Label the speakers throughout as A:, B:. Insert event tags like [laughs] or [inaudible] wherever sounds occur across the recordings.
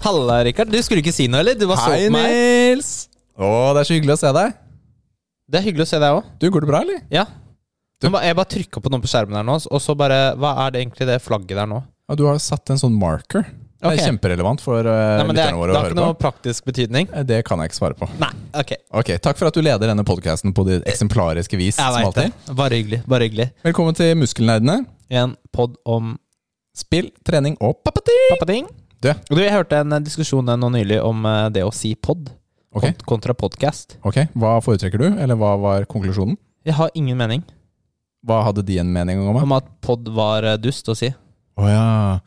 A: Halla, Rikard. Du skulle ikke si noe, eller? Du bare så
B: Hei,
A: på meg.
B: Nils! Å, det er så hyggelig å se deg.
A: Det er hyggelig å se deg òg.
B: Du, går det bra, eller?
A: Ja.
B: Du-
A: Men ba- Jeg bare trykka på noe på skjermen her nå, og så bare Hva er det egentlig det flagget der nå?
B: Ja, du har satt en sånn marker. Det er
A: Ok.
B: kjemperelevant for uh,
A: Nei, men det,
B: lytterne
A: er,
B: våre
A: det
B: å
A: har
B: høre
A: ikke
B: på.
A: noe praktisk betydning.
B: Eh, Det kan jeg ikke svare på.
A: Nei, ok.
B: Ok, Takk for at du leder denne podkasten på ditt eksemplariske vis.
A: Jeg
B: som
A: veit det.
B: alltid.
A: Bare hyggelig. Bare hyggelig.
B: Velkommen til Muskelnerdene.
A: En pod om
B: Spill, trening og pappati!
A: pappating.
B: Du.
A: Du, jeg hørte en eh, diskusjon eh, nå nylig om eh, det å si pod
B: Ok,
A: kont- kontra podcast.
B: ok, Hva foretrekker du, eller hva var konklusjonen?
A: Jeg har ingen mening
B: Hva hadde de en mening om? Å
A: om at pod var eh, dust å si.
B: ja.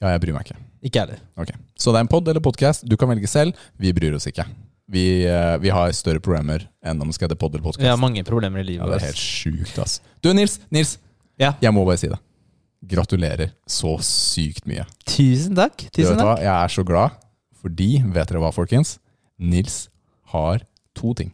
B: ja, jeg bryr meg ikke.
A: Ikke jeg heller.
B: Ok, Så det er en pod eller podkast. Du kan velge selv. Vi bryr oss ikke. Vi, eh, vi har større programmer enn om det skal hete pod eller
A: Vi
B: podkast.
A: har mange problemer i livet.
B: Ja, det er
A: vårt.
B: helt sjukt, ass. Du, Nils, Nils,
A: Ja.
B: jeg må bare si det. Gratulerer så sykt mye.
A: Tusen takk.
B: Du vet
A: Tusen takk.
B: hva, Jeg er så glad, fordi, vet dere hva, folkens? Nils har to ting.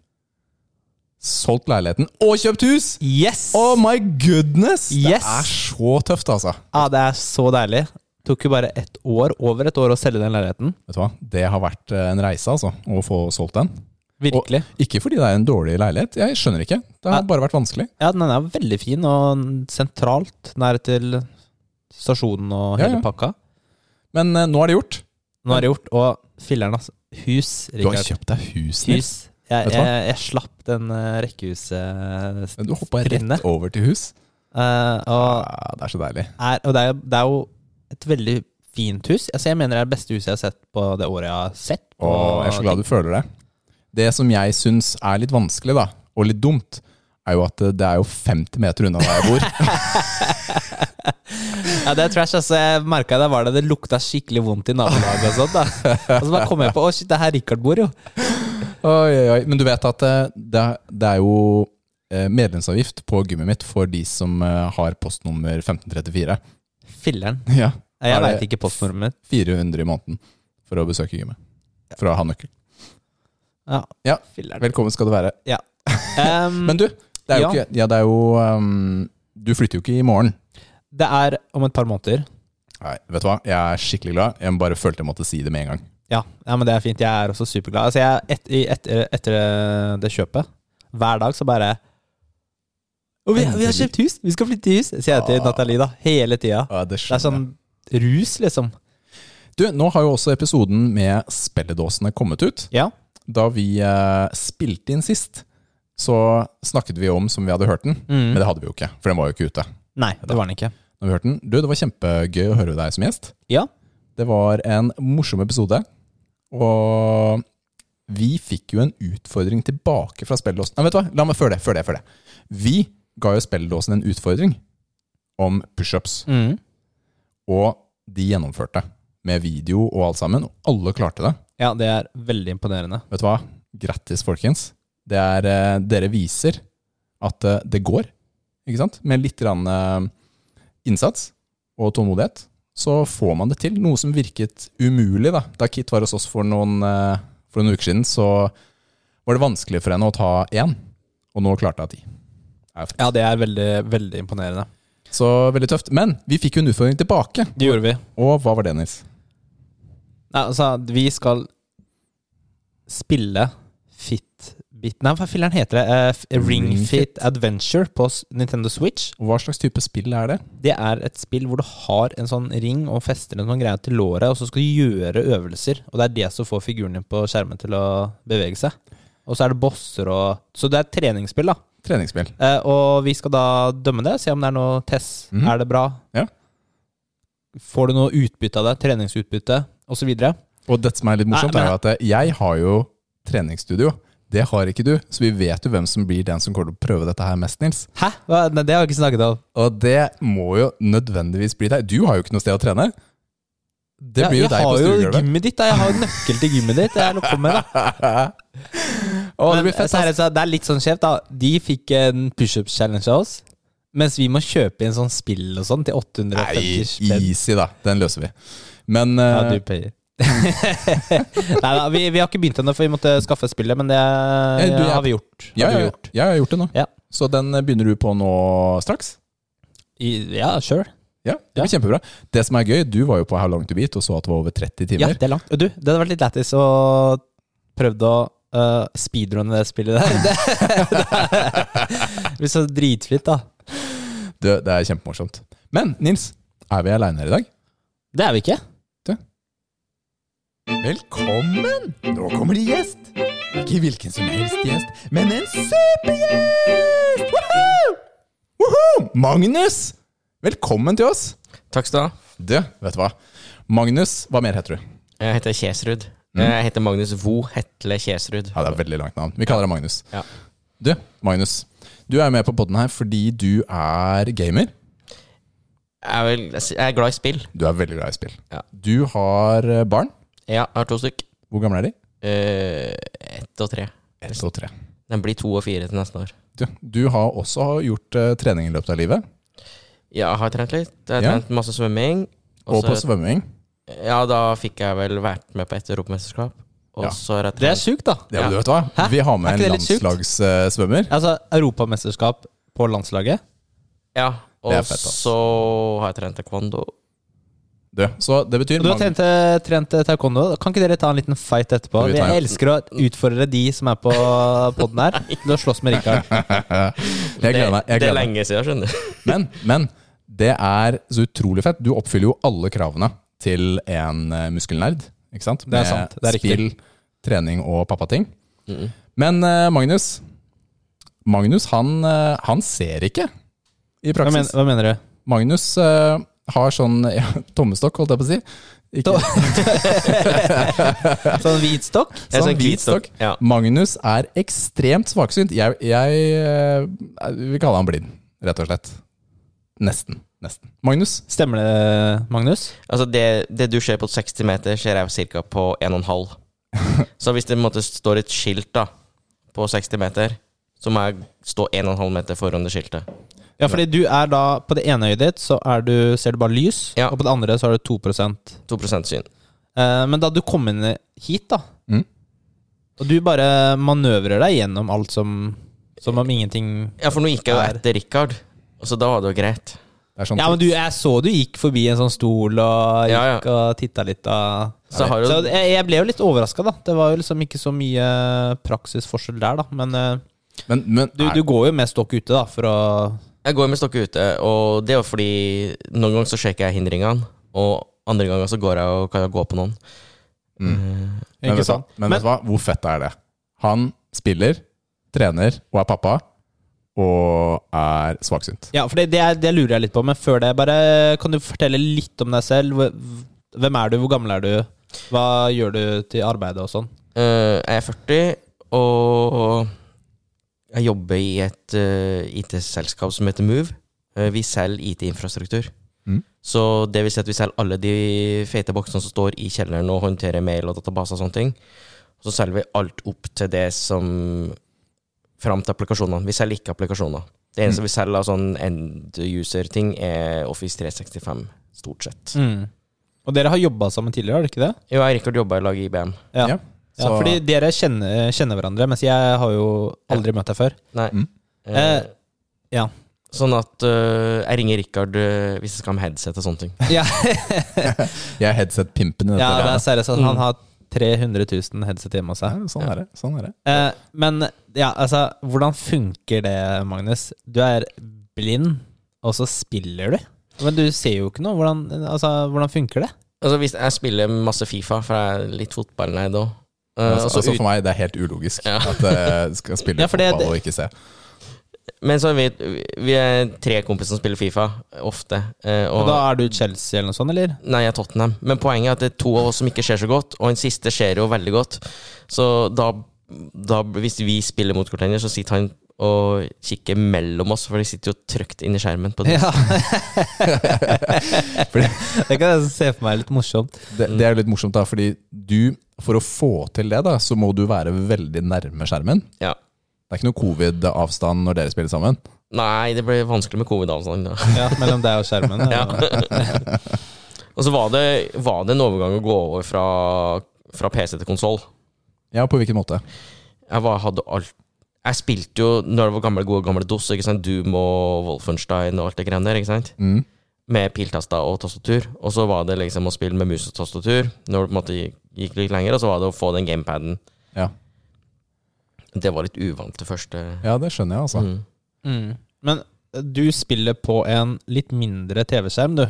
B: Solgt leiligheten og kjøpt hus!
A: Yes!
B: Oh my goodness!
A: Yes!
B: Det er så tøft, altså.
A: Ja, Ah, det er så deilig. Tok jo bare ett år, over et år, å selge den leiligheten.
B: Vet du hva, Det har vært eh, en reise, altså, å få solgt den.
A: Virkelig.
B: Ikke fordi det er en dårlig leilighet, jeg skjønner ikke. Det har bare vært vanskelig.
A: Ja, den er veldig fin, og sentralt, nær til stasjonen og hele
B: Ja, ja.
A: pakka.
B: Men eh, nå er det gjort.
A: Nå er det gjort, og filler'n, altså. Hus,
B: Du har
A: Rikard.
B: kjøpt deg hus, Nils.
A: Hus. Jeg,
B: Vet du hva?
A: jeg, jeg slapp den uh, rekkehuset
B: Du hoppa rett
A: Trinnet. Eh,
B: over til hus.
A: og,
B: Ah, det er så deilig.
A: er, og det, er, det er jo et veldig fint hus. Altså, jeg mener det er det beste huset jeg har sett på det året jeg har sett. på
B: Og jeg er så glad du føler det. Det som jeg syns er litt vanskelig, da, og litt dumt, er jo at eh, det er jo 50 meter unna der jeg [laughs] bor.
A: Ja, det er trash, altså. Jeg merka det var det. Det lukta skikkelig vondt i nabolaget og sånt. da. Og så bare kom jeg på å shit, det er her Richard bor, jo.
B: oi, oi, oi. Men du vet at eh, det, det er jo eh, medlemsavgift på gymmet mitt for de som eh, har postnummer 1534.
A: Filler'n.
B: [laughs] Ja,
A: Nei, Jeg
B: Er det-
A: veit ikke postnummeret mitt.
B: 400 i måneden for å besøke gymmet. For å ha nøkkel.
A: Ja,
B: Ja,
A: filler'n.
B: Velkommen skal du være.
A: Em,
B: Men du, det er jo
A: Ja.
B: ikke Ja, det er jo ehm, Du flytter jo ikke i morgen.
A: det er om et par måneder.
B: Nei, vet du hva? Jeg er skikkelig glad. Jeg bare følte jeg måtte si det med en gang.
A: Ja, ja, men det er fint. Jeg er også superglad. Altså, jeg, et, i- etter, etter det kjøpet, hver dag så bare «Å, vi, vi har kjøpt hus! Vi skal flytte i hus! Sier jeg til
B: Ah.
A: Nathalie da, hele tida.
B: Ja, det
A: Det er sånn rus, liksom.
B: Du, nå har jo også episoden med spilledåsene kommet ut.
A: Ja.
B: Da vi eh, spilte inn sist, så snakket vi om som vi hadde hørt den.
A: Mm.
B: Men det hadde vi jo ikke, for den var jo ikke ute.
A: Nei, det var den ikke.
B: Når vi hørte den. Du, det var kjempegøy å høre deg som gjest.
A: Ja.
B: Det var en morsom episode. Og vi fikk jo en utfordring tilbake fra spilledåsen. Nei, vet du hva? La meg før det, før det, før det. Vi ga jo spilledåsen en utfordring om pushups.
A: Mm.
B: Og de gjennomførte. Med video og alt sammen. Og alle klarte det.
A: Ja, det er veldig imponerende.
B: Vet du hva? Grattis, folkens. Det er, eh, dere viser at eh, det går, ikke sant? Med litt grann, eh, innsats og tålmodighet, så får man det til. Noe som virket umulig. Da, da Kit var hos oss for noen, eh, for noen uker siden, så var det vanskelig for henne å ta én, og nå klarte hun ti.
A: Ja, det er veldig, veldig imponerende.
B: Så veldig tøft. Men vi fikk jo en utfordring tilbake.
A: Det gjorde vi.
B: Og hva var det, Nils?
A: Nei, altså, vi skal spille Fitbit Nei, hva filler'n heter det? Eh, f- Ring
B: Ring Fit.
A: Fit Adventure på s- Nintendo Switch.
B: Og hva slags type spill er det?
A: Det er et spill hvor du har en sånn ring og fester en sånn greie til låret, og så skal du gjøre øvelser. Og det er det som får figuren din på skjermen til å bevege seg. Og så er det bosser og Så det er et treningsspill, da.
B: Treningsspill.
A: Eh, og vi skal da dømme det, se om det er noe test.
B: Mhm.
A: Er det bra?
B: Ja.
A: Får du noe utbytte av det? Treningsutbytte osv.?
B: Og det som er litt morsomt,
A: Nei, men-
B: er jo at eh, jeg har jo treningsstudio. Det har ikke du, så vi vet jo hvem som blir den som kommer til å prøve dette her mest, Nils.
A: Hæ? Hva? Nei, det har vi ikke snakket om.
B: Og det må jo nødvendigvis bli deg. Du har jo ikke noe sted å
A: [laughs]
B: trene. Det blir jo
A: jeg
B: deg på
A: har jo
B: stuegulvet.
A: gymmet ditt, da. Jeg har jo nøkkel til gymmet ditt. Det er, noe med, da.
B: Å, det
A: Men
B: blir fett, ass.
A: seriøst, det er litt sånn skjevt, da. De fikk en pushup-challenge av oss. Mens vi må kjøpe inn sånn spill og sånn til 850
B: Nei,
A: spenn.
B: easy, da. Den løser vi. Men eh,
A: Ja, du payer. [laughs] Nei da, vi, vi har ikke begynt ennå, for vi måtte skaffe spillet, men det
B: du, jeg-
A: har vi gjort. Har
B: ja,
A: du
B: ja,
A: gjort.
B: ja, jeg har gjort det nå.
A: Ja.
B: Så den eh, begynner du på nå straks?
A: I, ja, sure.
B: Ja, det blir kjempebra. Det som er gøy, du var jo på How Long To Beat og så at det var over 30
A: Ja,
B: timer.
A: det er langt. Og du, det hadde vært litt lættis å prøvde å uh, speedrunne det spillet der. Det, [laughs] det blir så dritfint, da.
B: Det, det er kjempemorsomt. Men Nils, er vi aleine her i dag?
A: Det er vi ikke.
B: Velkommen! Nå kommer det gjest. Ikke hvilken som helst gjest, men en supergjest! Woohoo! Woohoo! Magnus! Velkommen til oss.
C: Takk skal du ha.
B: Du, vet du hva? Magnus, hva mer heter du?
C: Jeg heter Kjesrud.
A: Mm.
C: Jeg heter Magnus Vo Hetle Kjesrud.
B: Ja, det er et veldig langt navn. Vi kaller deg Magnus.
C: Ja.
B: Du, Magnus. Du er jo med på podden her fordi du er gamer.
C: Jeg er, vel, jeg er glad i spill.
B: Du er veldig glad i spill.
C: Ja.
B: Du har eh, barn.
C: Ja, jeg har to stykk.
B: Hvor gamle er de?
C: Eh, ett og tre.
B: Ett og tre.
C: Den blir to og fire til neste år.
B: Du, du har også gjort eh, trening i løpet av livet,
C: Ja, jeg har trent litt. Jeg har
B: Ja.
C: trent masse svømming.
B: og,
C: Og
B: på
C: så,
B: svømming.
C: ja, da fikk jeg vel vært med på et europamesterskap. Og
B: Ja.
C: så har jeg
A: Det er
C: trent
A: sjukt, da.
B: Ja, men
C: Ja.
B: du vet hva?
A: Hæ?
B: Vi har med
A: Er ikke
B: en
A: det litt sjukt?
B: landslagssvømmer.
A: Altså, europamesterskap på landslaget.
C: Ja, og
B: Det er fett, ass.
C: så har jeg trent taekwondo.
B: Du, så det betyr
A: Du har
B: mange-
A: trent, eh, trent taekwondo. Kan ikke dere ta en liten fight etterpå?
B: Kan vi ta
A: Jeg
B: en-
A: elsker å utfordre de som er på poden her, til å slåss med Rikard.
B: Jeg gleder meg. Jeg
C: det, det
B: gleder
C: er
B: meg.
C: lenge siden, skjønner du. [laughs]
B: Men, men det er så utrolig fett. Du oppfyller jo alle kravene til en eh, muskelnerd. Ikke sant?
A: er sant, det er riktig.
B: spill, trening og pappating. Men eh, Magnus Magnus, han, eh, han ser ikke i
A: Hva, men,
B: praksis.
A: hva mener du?
B: Magnus eh, har sånn [laughs] ja, tommestokk, holdt jeg på å si. Ikke,
A: Sånn hvitstokk?
C: Jeg er
B: Sånn
C: sånn hvitstokk.
B: hvitstokk.
C: Ja.
B: Magnus er ekstremt svaksynt. Jeg, jeg eh, vil kalle han blind, rett og slett. Nesten. Nesten. Magnus,
A: Stemmer det, Magnus?
C: Altså det, det du ser på 60 meter, ser jeg ca. på
B: [laughs]
C: 1,5. Så hvis det på en måte står et skilt da på 60 meter, så må jeg stå 1,5 meter foran det skiltet.
A: Ja, fordi du er da På det ene øyet ditt så er du, ser du bare lys,
C: Ja.
A: og på det andre så har du 2 eh,
C: 2 syn.
A: Men da du kom inn hit, da
B: Mhm.
A: Og du bare manøvrer deg gjennom alt som Som om ingenting
C: Ja, for nå gikk jeg jo etter Richard, og så da var det jo greit.
B: det er sånn
A: Ja, men du, jeg så du gikk forbi en sånn stol og
C: Ja, ja.
A: gikk og titta litt av
C: Så har
A: Så
C: jo
A: jeg, jeg ble jo litt overraska, da. Det var jo liksom ikke så mye eh, praksisforskjell der, da. Men eh,
B: Men, men
A: du,
B: er-
A: du går jo med stokk ute, da, for å
C: Jeg går med stokket ute, og det er jo fordi noen ganger så sjekker jeg hindringene, og andre ganger så går jeg og kan jeg gå på noen. Eh,
B: men,
A: Ikke
B: vet du hva?
A: sant?
B: men vet du hva, hvor fett er det? Han spiller, trener og er pappa, og er svaksynt.
A: Ja, for det, det, er- det lurer jeg litt på, men før det, bare eh, kan du fortelle litt om deg selv? Hv- Hvem er du, hvor gammel er du? Hva gjør du til arbeidet og sånn?
C: Eh, jeg er 40, og jeg jobber i et eh, IT-selskap som heter Move. Eh, vi selger IT-infrastruktur.
B: Mm.
C: Så det vil si at vi selger alle de feite boksene som står i kjelleren og håndterer mail og databaser og sånne ting. Og så selger vi alt opp til det som Fram til applikasjonene. Vi selger ikke applikasjoner. Det eneste vi selger av sånn end user-ting, er Office 365, stort sett.
A: Mm. Og dere har jobba sammen tidligere, har dere ikke det?
C: Jo, jeg og Rikard jobba i lag i IBM.
A: Ja.
B: Ja,
A: Ja,
B: så-
A: fordi dere kjenner, kjenner hverandre, mens jeg har jo aldri møtt deg før.
C: Nei.
B: Mm.
C: Eh,
A: ja.
C: Sånn at øh, jeg ringer Richard øh, hvis jeg skal ha med headset og sånne ting.
A: [laughs] Ja,
B: Jeg er headset-pimpen i dette
A: ja det er
B: landet.
A: seriøst at han har 300 000 headset hjemme hos
B: Ja,
A: seg.
B: Sånn er det. sånn er det.
A: Eh, men ja, altså, hvordan funker det, Magnus? Du er blind, og så spiller du? Men du ser jo ikke noe. Hvordan, altså, hvordan funker det?
C: Altså hvis Jeg spiller masse Fifa, for jeg er litt fotballnerd Eh, òg.
A: Eh,
B: Altså, altså For meg det er helt ulogisk
C: Ja.
B: at jeg skal spille
A: Ja, for det-
B: fotball og ikke se.
C: Men så er vi, vi er tre kompiser som spiller Fifa, ofte. eh,
A: Og
C: og,
A: da er du Chelsea eller noe sånt,
C: [laughs]
A: eller?
C: Nei, jeg er Tottenham. Men poenget er at det er to av oss som ikke ser så godt, og den siste ser jo veldig godt. Så da, da hvis vi spiller mot hverandre, så sitter han og kikker mellom oss, for de sitter jo trygt inni skjermen. på det.
A: [laughs] Ja. det kan jeg se for meg er litt morsomt.
B: Det, det er jo litt morsomt, da, fordi du, for å få til det, da, så må du være veldig nærme skjermen.
C: Ja.
B: Det er ikke noe covid-avstand når dere spiller sammen.
C: Nei, det ble vanskelig med covid-avstand da.
A: Ja, Mellom deg og skjermen.
C: [laughs] Ja.
A: eller?
C: Og så var det, var det en overgang å gå over fra, fra PC til konsoll.
B: Ja, på hvilken måte?
C: Jeg var, hadde alt Jeg spilte jo når det var gamle, gode gamle DOS, ikke sant? Doom og Wolfenstein og alt det greiene der. ikke sant?
B: Mm.
C: med piltaster og tastatur. Og så var det liksom å spille med mus og tastatur når det på en måte gikk litt lenger, og så var det å få den gamepaden.
B: Ja.
C: Det var litt uvant det første.
B: Ja, det skjønner jeg, altså.
C: Mm.
A: Mm. Men eh, du spiller på en litt mindre TV-skjerm, du.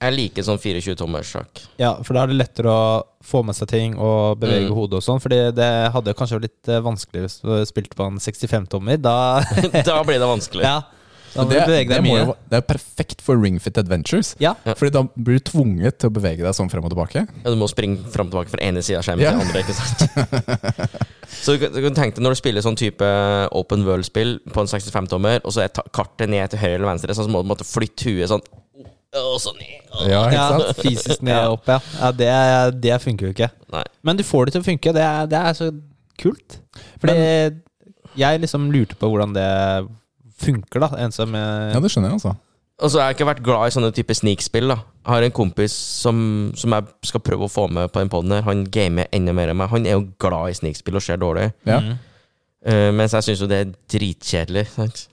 C: Jeg liker sånn 24-tommers-sjakk.
A: Ja, for da er det lettere å få med seg ting og bevege
C: Mm.
A: hodet og sånn. Fordi det hadde kanskje vært litt eh, vanskelig hvis du spilte på en 65-tommer. Da,
C: [laughs]
A: [laughs]
C: da blir det vanskelig.
A: ja, da må
B: det,
A: du bevege
B: det
A: deg
B: må
A: mye.
B: jo- det er perfekt for Ringfit Adventures.
A: Ja.
B: Fordi da blir du tvunget til å bevege deg sånn frem og tilbake.
C: Ja, du må springe fram og tilbake fra ene sida av skjermen
B: Ja.
C: til andre. ikke sant? [laughs] så du, kan- du kan tenke deg når du spiller sånn type open world-spill på en 65-tommer, og så er ta- kartet ned til høyre eller venstre, sånn, så må du måtte flytte huet sånn og så ned. og-
B: Ja,
A: Ja,
B: ikke sant?
A: [laughs] fysisk ned
C: Ja.
A: og opp, ja. ja det, det funker jo ikke.
C: Nei.
A: Men du får det til å funke. Det er, det er så kult. Fordi jeg liksom lurte på hvordan det funker, da. En som eh,
B: Ja, det skjønner jeg, altså. [laughs]
C: Og så har jeg ikke vært glad i sånne type snikspill. da Jeg har en kompis som, som jeg skal prøve å få med på den poden her. Han gamer enda mer enn meg. Han er jo glad i snikspill og ser dårlig.
B: Ja.
A: Mm.
C: Eh, mens jeg syns jo det er dritkjedelig. Sant?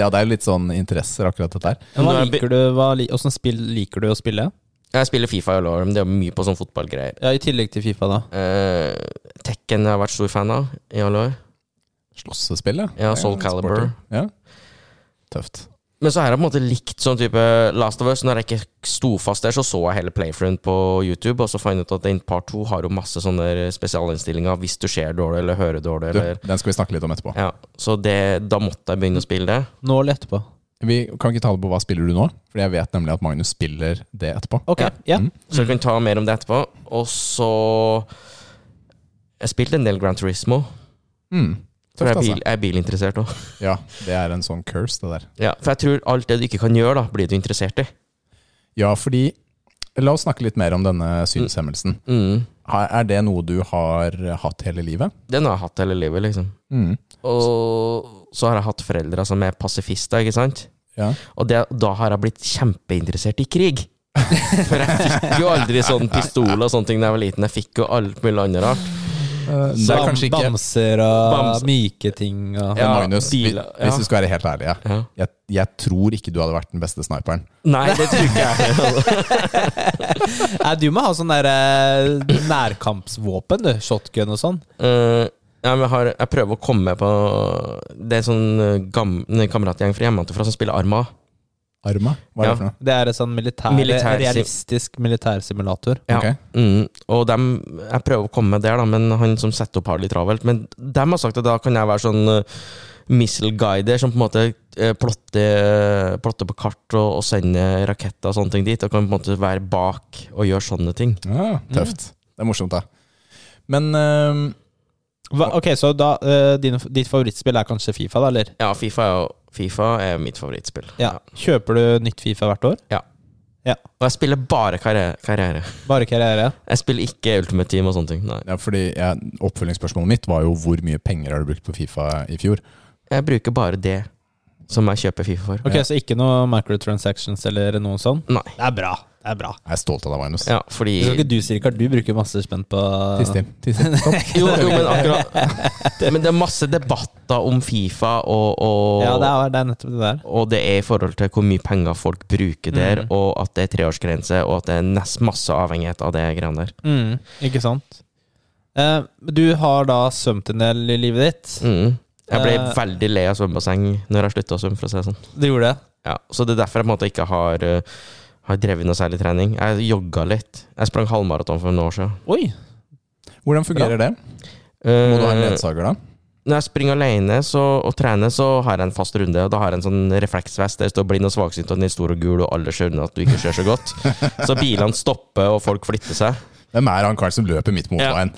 B: ja, det er litt sånn interesser, akkurat dette her.
A: Men Hva
C: Nå er
A: liker du, hva, li- hvordan spill liker du å spille? Jeg
C: Jeg spiller Fifa i alle år, men det er mye på sånn fotballgreier.
A: Ja, I tillegg til Fifa, da.
C: Eh, Tekken har jeg vært stor fan av i alle år.
B: Slåssespill, ja.
C: Ja, Soul
B: Sporty.
C: Calibur.
B: Ja. Tøft.
C: Men så har jeg på en måte likt sånn type Last of Us. Når jeg ikke sto fast der, så så jeg hele playfruen på YouTube, og så fant jeg ut at den part to har jo masse sånne spesialinnstillinger hvis du ser dårlig eller hører dårlig.
B: Du,
C: Eller,
B: den skal vi snakke litt om etterpå.
C: ja. Så det, da måtte jeg begynne å spille det.
A: Nå eller etterpå?
B: Vi kan ikke tale på hva spiller du nå, for jeg vet nemlig at Magnus spiller det etterpå.
A: Ok,
C: Ja.
A: ja.
B: Mm.
C: Så jeg kan ta mer om det etterpå. Og så Jeg spilte en del Grand Turismo.
B: Mm.
C: For
B: Tøft,
C: jeg er,
B: altså.
C: bil, jeg er bilinteressert òg.
B: Ja, det er en sånn curse, det der.
C: Ja, for jeg tror alt det du ikke kan gjøre, da, blir du interessert i.
B: Ja, fordi La oss snakke litt mer om denne synshemmelsen.
C: Mm.
B: Er er det noe du har hatt hele livet?
C: Den har jeg hatt hele livet, liksom.
B: Mm.
C: Og så har jeg hatt foreldre som er pasifister, ikke sant?
B: Ja.
C: Og det, da har jeg blitt kjempeinteressert i krig. For jeg fikk jo aldri
B: [laughs]
C: sånn pistol og sånne ting da jeg var liten. Jeg fikk jo alt mulig annet rart.
B: Eh, Det er
A: Bam-
B: kanskje ikke
A: Bamser og
C: Bams-
A: myke ting og
B: Men Magnus, vi-
C: biler, ja.
B: hvis du skal være helt ærlig, ja.
C: Ja.
B: jeg, jeg tror ikke du hadde vært den beste sniperen.
C: Nei, det tror ikke jeg.
A: Nei, du må ha sånn der eh, nærkampsvåpen, du. Shotgun og sånn.
C: Eh, ja, men jeg, har, jeg prøver å komme på Det er en sånn eh, gam, en kameratgjeng fra hjemmefra som spiller Arma.
B: Arma? Hva er
C: Ja.
B: det for noe?
A: Det er en sånn militær,
C: Militær-
A: realistisk militærsimulator.
C: Ja.
B: Ok.
C: Mm, og dem, jeg prøver å komme der, da, men han som setter opp har det litt travelt. Men dem har sagt at da kan jeg være sånn eh, missile guider som på en måte eh, plotter, plotter på kart og, og sender raketter og sånne ting dit. Og kan på en måte være bak og gjøre sånne ting.
B: Ah, tøft. Det er morsomt, da. Men eh,
A: Hva, ok, så da, eh, din, ditt favorittspill er kanskje Fifa, da, eller?
C: Ja, Fifa er, jo- FIFA er mitt favorittspill.
A: Ja. Kjøper du nytt Fifa hvert år?
C: Og jeg spiller bare karriere. karriere.
A: Bare karriere?
C: Jeg spiller ikke Ultimate Team og sånne ting. Nei.
B: ja, fordi jeg, oppfølgingsspørsmålet mitt var jo hvor mye penger har du brukt på Fifa i fjor?
C: Jeg bruker bare det som jeg kjøper Fifa for.
A: Ok,
B: Ja.
A: Så ikke noe microtransactions eller noe sånn?
C: Nei.
A: Det er bra. det er bra.
B: Jeg er stolt av deg, Magnus.
C: Ja,
A: Det skal
C: fordi
A: ikke du si, Rikard. Du bruker masse spenn på
B: Tiss til. Tiss til. Stopp.
C: jo, jo, men akkurat Men det er masse debatter om Fifa og, og
A: Ja, det er, det er nettopp det der.
C: Og det er i forhold til hvor mye penger folk bruker der,
A: Mm.
C: og at det er treårsgrense, og at det er nest masse avhengighet av det greiene der.
A: Mm, ikke sant? Eh, du har da svømt en del i livet ditt.
C: Mm. Jeg ble
A: Eh.
C: veldig lei av svømmebasseng når jeg slutta å svømme, for å si det sånn.
A: Du gjorde det?
C: Ja, så det er derfor jeg på en måte ikke har, eh, har drevet noe særlig trening. Jeg jogga litt. Jeg sprang halvmaraton for noen år siden.
A: Oi!
B: Hvordan fungerer det?
C: Eh,
B: Må du ha en ledsager, da?
C: når jeg springer alene så, og trener, så har jeg en fast runde. Og da har jeg en sånn refleksvest der det står 'blind og svaksynt', og den er stor og gul, og alle skjønner at du ikke ser så
B: [laughs]
C: godt. Så bilene stopper, og folk flytter seg.
B: Hvem er han karen som løper midt mot veien?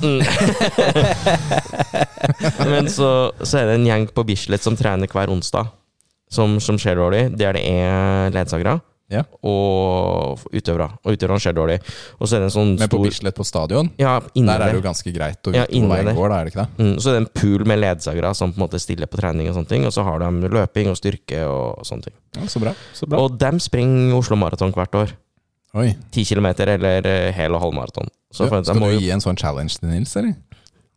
C: Mm. [laughs] Men så, så er det en gjeng på Bislett som trener hver onsdag, som, som ser dårlig. Der det er ledsagere
B: Ja.
C: og utøvere. Og utøverne ser dårlig. Og så er det en sånn
B: Men på
C: stor
B: Bislett på stadion,
C: ja, inne
B: der er det jo
C: der.
B: ganske greit å vite
C: Ja,
B: hvor veien
C: innvendig.
B: går, da er det ikke det?
C: Mm, så er det en pool med ledsagere som på en måte stiller på trening, og sånne ting Og så har de løping og styrke og sånne ting.
B: Ja, så bra.
A: Så bra.
C: Og dem springer Oslo Maraton hvert år.
B: Oi.
C: 10 km eller eh, hel og halv maraton. Så
B: Du,
C: for at jeg
B: skal
C: må
B: du
C: jo-
B: gi en sånn challenge til Nils, eller?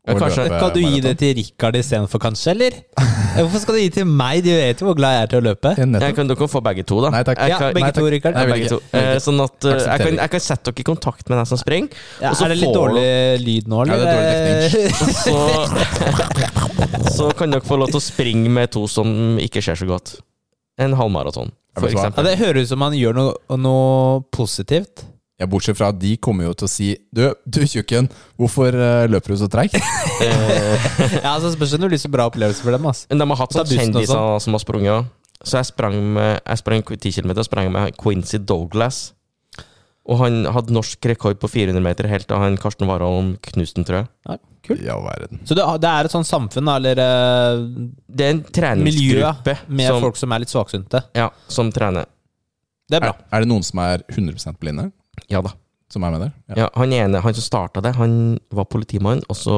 B: å
C: kanskje-
B: løpe
A: Kan du gi det
B: maraton.
A: til Rikard istedenfor, kanskje? eller? Eh, Hvorfor skal du gi til meg? Du vet jo hvor glad jeg er til å løpe.
B: Ja, nettopp.
C: Jeg kan, dere kan få begge to, da.
B: Nei, takk.
C: Jeg
A: Ja,
C: kan,
A: begge
B: nei,
A: to,
B: takk.
A: Rikard.
B: Nei,
C: begge to. Eh, sånn at eh, jeg kan, jeg kan sette dere i kontakt med deg som springer.
A: Ja,
C: og
A: er
C: så
A: det litt
C: får-
A: dårlig lyd nå,
B: Ja,
A: eller?
B: det er dårlig
A: teknikk.
C: Så, [laughs] så kan dere få lov til å springe med to som ikke ser så godt. En halvmaraton, for
B: Vet du
A: [laughs]
B: hva?
A: Ja,
C: eksempel.
A: det høres ut som han gjør noe, noe positivt.
B: Ja, bortsett fra at de kommer jo til å si Du, du tjukken, hvorfor eh, løper du så treigt?
A: Ja, altså Spørs om det blir så bra opplevelse for dem. ass.
C: Men de har hatt
A: Ta
C: sånn
A: bussen og
C: kjendiser som har sprunget også. Så jeg sprang med Jeg sprang 10 km og sprang med Quincy Douglas. Og han hadde norsk rekord på 400 meter helt da han Karsten Warholm knuste den, tror jeg.
A: Ja, kult.
B: Ja, verden.
A: Så det, det er et sånt samfunn, da, eller eh,
C: Det er en
A: miljø
C: treningsgruppe
A: med
C: som,
A: folk som er litt svaksynte.
C: ja, som trener.
A: Det er
B: Er,
A: bra.
B: er det noen som er 100 blinde,
C: Ja da.
B: som er med der? Ja.
C: Ja, han ene, han som starta det, han var politimann, og så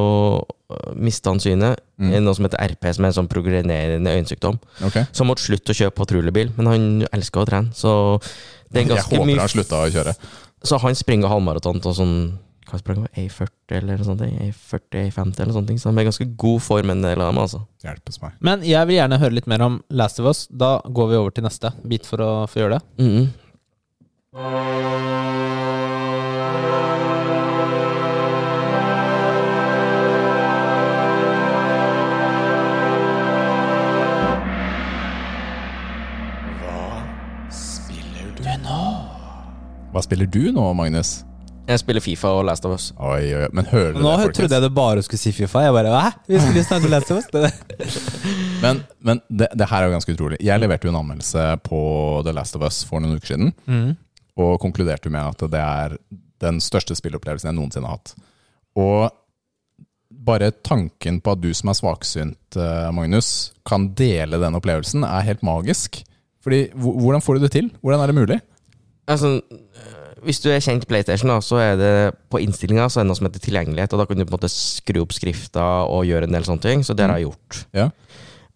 C: mista han synet.
B: Mm.
C: Det er Noe som heter RP, som er en sånn progrenerende øyensykdom.
B: Ok.
C: Så han måtte slutte å kjøpe patruljebil, men han elsker å trene. Så det er
B: Jeg
C: ganske
B: håper
C: mye
B: han slutta å kjøre.
C: Så han springer halvmaraton til sånn Hva sprang han? A40 eller noe sånt? A40, A50 eller sånne ting. Så han er i ganske god form, en del av dem, altså.
B: Hjelpes meg.
A: Men jeg vil gjerne høre litt mer om Last of Us. Da går vi over til neste bit for å få gjøre det.
C: Mhm.
B: Hva spiller du nå, Magnus?
C: Jeg spiller Fifa og Last of Us.
B: Oi, oi, oi. Men hører du
A: Nå
B: det, folkens?
A: trodde jeg du bare skulle si Fifa. Jeg bare, hæ? Vi skulle jo snakke om Last of Us.
B: Men, men det, det her er jo ganske utrolig. Jeg leverte jo en anmeldelse på The Last of Us for noen uker siden, og konkluderte med at det er den største spillopplevelsen jeg noensinne har hatt. Og bare tanken på at du som er svaksynt, eh, Magnus, kan dele den opplevelsen, er helt magisk. Fordi, hvo- Hvordan får du det til? Hvordan er det mulig?
C: Altså, øh, hvis du er kjent PlayStation, da, så er det på innstillinga så er det noe som heter tilgjengelighet, og da kan du på en måte skru opp skrifta og gjøre en del sånne ting. Så det har jeg gjort.
B: Ja.